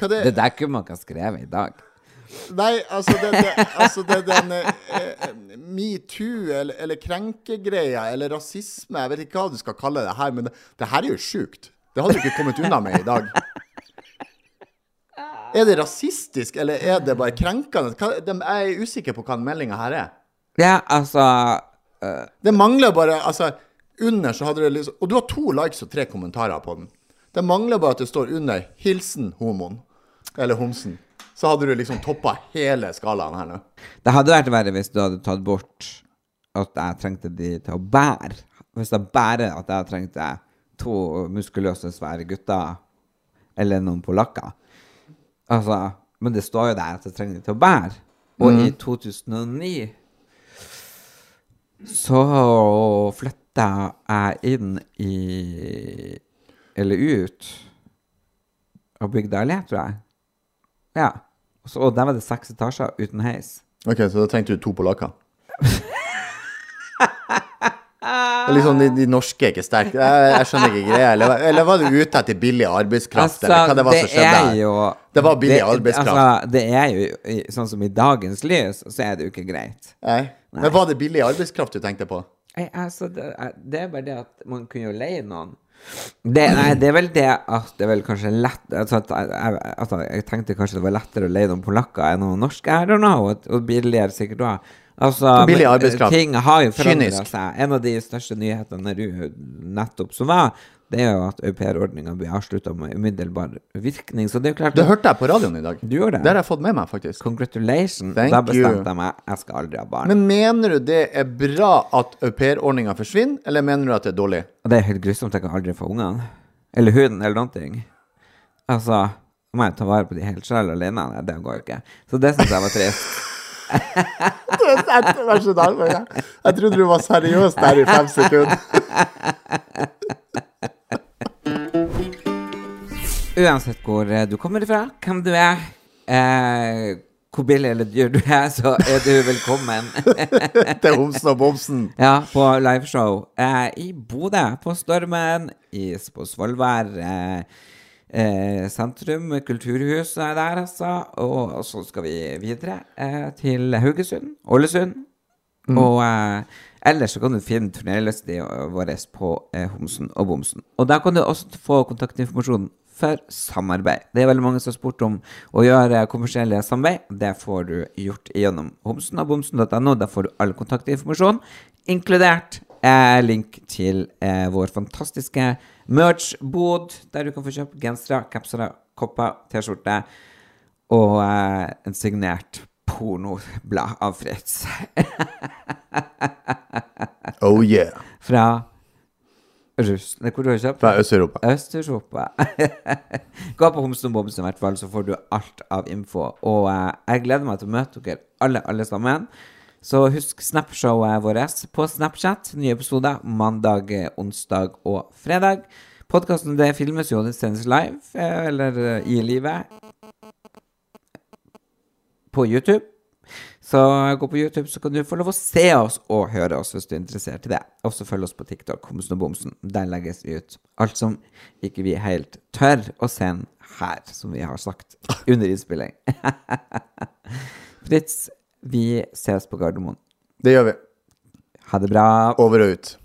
S5: Hva det
S4: Det der kunne man ikke ha skrevet i dag.
S5: Nei, altså, det, det, altså det, den eh, eh, metoo eller, eller krenkegreia eller rasisme Jeg vet ikke hva du skal kalle det her, men det, det her er jo sjukt. Det hadde du ikke kommet unna med i dag. Er det rasistisk, eller er det bare krenkende? Hva, de, jeg er usikker på hva den meldinga her er.
S4: Ja, eh, altså
S5: Det mangler bare Altså, under så hadde det liksom Og du har to likes og tre kommentarer på den. Det mangler bare at det står under 'Hilsen homoen'. Eller homsen. Så hadde du liksom toppa hele skalaen her nå.
S4: Det hadde vært verre hvis du hadde tatt bort at jeg trengte de til å bære. Hvis det bare at jeg trengte to muskuløse, svære gutter eller noen polakker. Altså, men det står jo der at jeg trenger de til å bære. Og i 2009 så flytta jeg inn i Eller ut og bygde allé, tror jeg. Ja. Og så- Og der var det seks etasjer uten heis.
S5: Ok, så da trengte du to polakker. Liksom, de, de norske er ikke sterke. Jeg, jeg skjønner ikke greia. Eller, var- eller var du ute etter billig arbeidskraft? eller hva det var som skjedde
S4: Altså, er
S5: her?
S4: jo
S5: Det var billig
S4: det-
S5: arbeidskraft.
S4: Altså, det er jo i- sånn som i dagens lys, så er det jo ikke greit.
S5: Nei. Men var det billig arbeidskraft du tenkte på?
S4: Nei, altså, det, er- det er bare det at man kunne jo leie noen. Det, nei, det er vel det at det er vel kanskje lett altså at, jeg- jeg, altså, jeg tenkte kanskje det var lettere å leie noen polakker enn noen norske. I don't know. Og, og billigere sikkert òg. Altså,
S5: Billig
S4: men, eh,
S5: arbeidskraft.
S4: Ting har jo forandra
S5: Kynisk.
S4: seg. En av de største nyhetene du nettopp som var, det er jo at aupairordninga blir avslutta med umiddelbar virkning. Så det er jo klart
S5: Det hørte jeg på radioen i dag.
S4: Du gjorde det?
S5: Det har jeg fått med meg, faktisk.
S4: Congratulations.
S5: Thank
S4: da bestemte
S5: you.
S4: jeg meg. Jeg skal aldri ha barn.
S5: Men mener du det er bra at aupairordninga forsvinner, eller mener du at det er dårlig?
S4: Og det er helt grusomt. Jeg kan aldri få ungene. Eller hunden, eller noen ting. Altså, må jeg ta vare på de helt sjøl alene? Nei, det går jo ikke. Så det syns jeg var trist.
S5: Vær så snill. Jeg jeg trodde du var seriøs der i fem sekunder.
S4: Uansett hvor eh, du kommer ifra, hvem du er, eh, hvor billig eller dyr du er, så er du velkommen
S5: Til homsen og bomsen.
S4: ja, på liveshow eh, i Bodø, på Stormen, i, på Svolvær. Eh, Eh, sentrum, kulturhuset der, altså. Og, og så skal vi videre eh, til Haugesund, Ålesund. Og eh, ellers så kan du finne turnélista vår på eh, Homsen og Bomsen. Og der kan du også få kontaktinformasjon for samarbeid. Det er veldig mange som har spurt om å gjøre kommersielle samarbeid. Det får du gjort gjennom homsenogbomsen.no. Der får du all kontaktinformasjon, inkludert eh, link til eh, vår fantastiske merch-bod, der du kan få kjøpt gensere, capsere, kopper, T-skjorte og eh, en signert pornoblad av Fritz.
S5: Oh yeah.
S4: fra Russ... Nei, hvor du har kjøpt?
S5: Fra Øst-Europa.
S4: Øst-Europa. Gå på Homsen og Bomsen, i hvert fall, så får du alt av info. Og eh, jeg gleder meg til å møte dere alle, alle sammen. Så husk Snapshowet vårt på Snapchat. Nye episoder mandag, eh, onsdag og fredag. Podkasten det filmes jo, det sendes live, eh, eller eh, i livet, på YouTube. Så gå på YouTube, så kan du få lov å se oss og høre oss hvis du er interessert i det. Og så følg oss på TikTok, Homsen og Bomsen. Der legges vi ut alt som ikke vi helt tør å sende her, som vi har sagt under innspilling. Fritz, vi ses på Gardermoen.
S5: Det gjør vi.
S4: Ha det bra.
S5: Over og ut.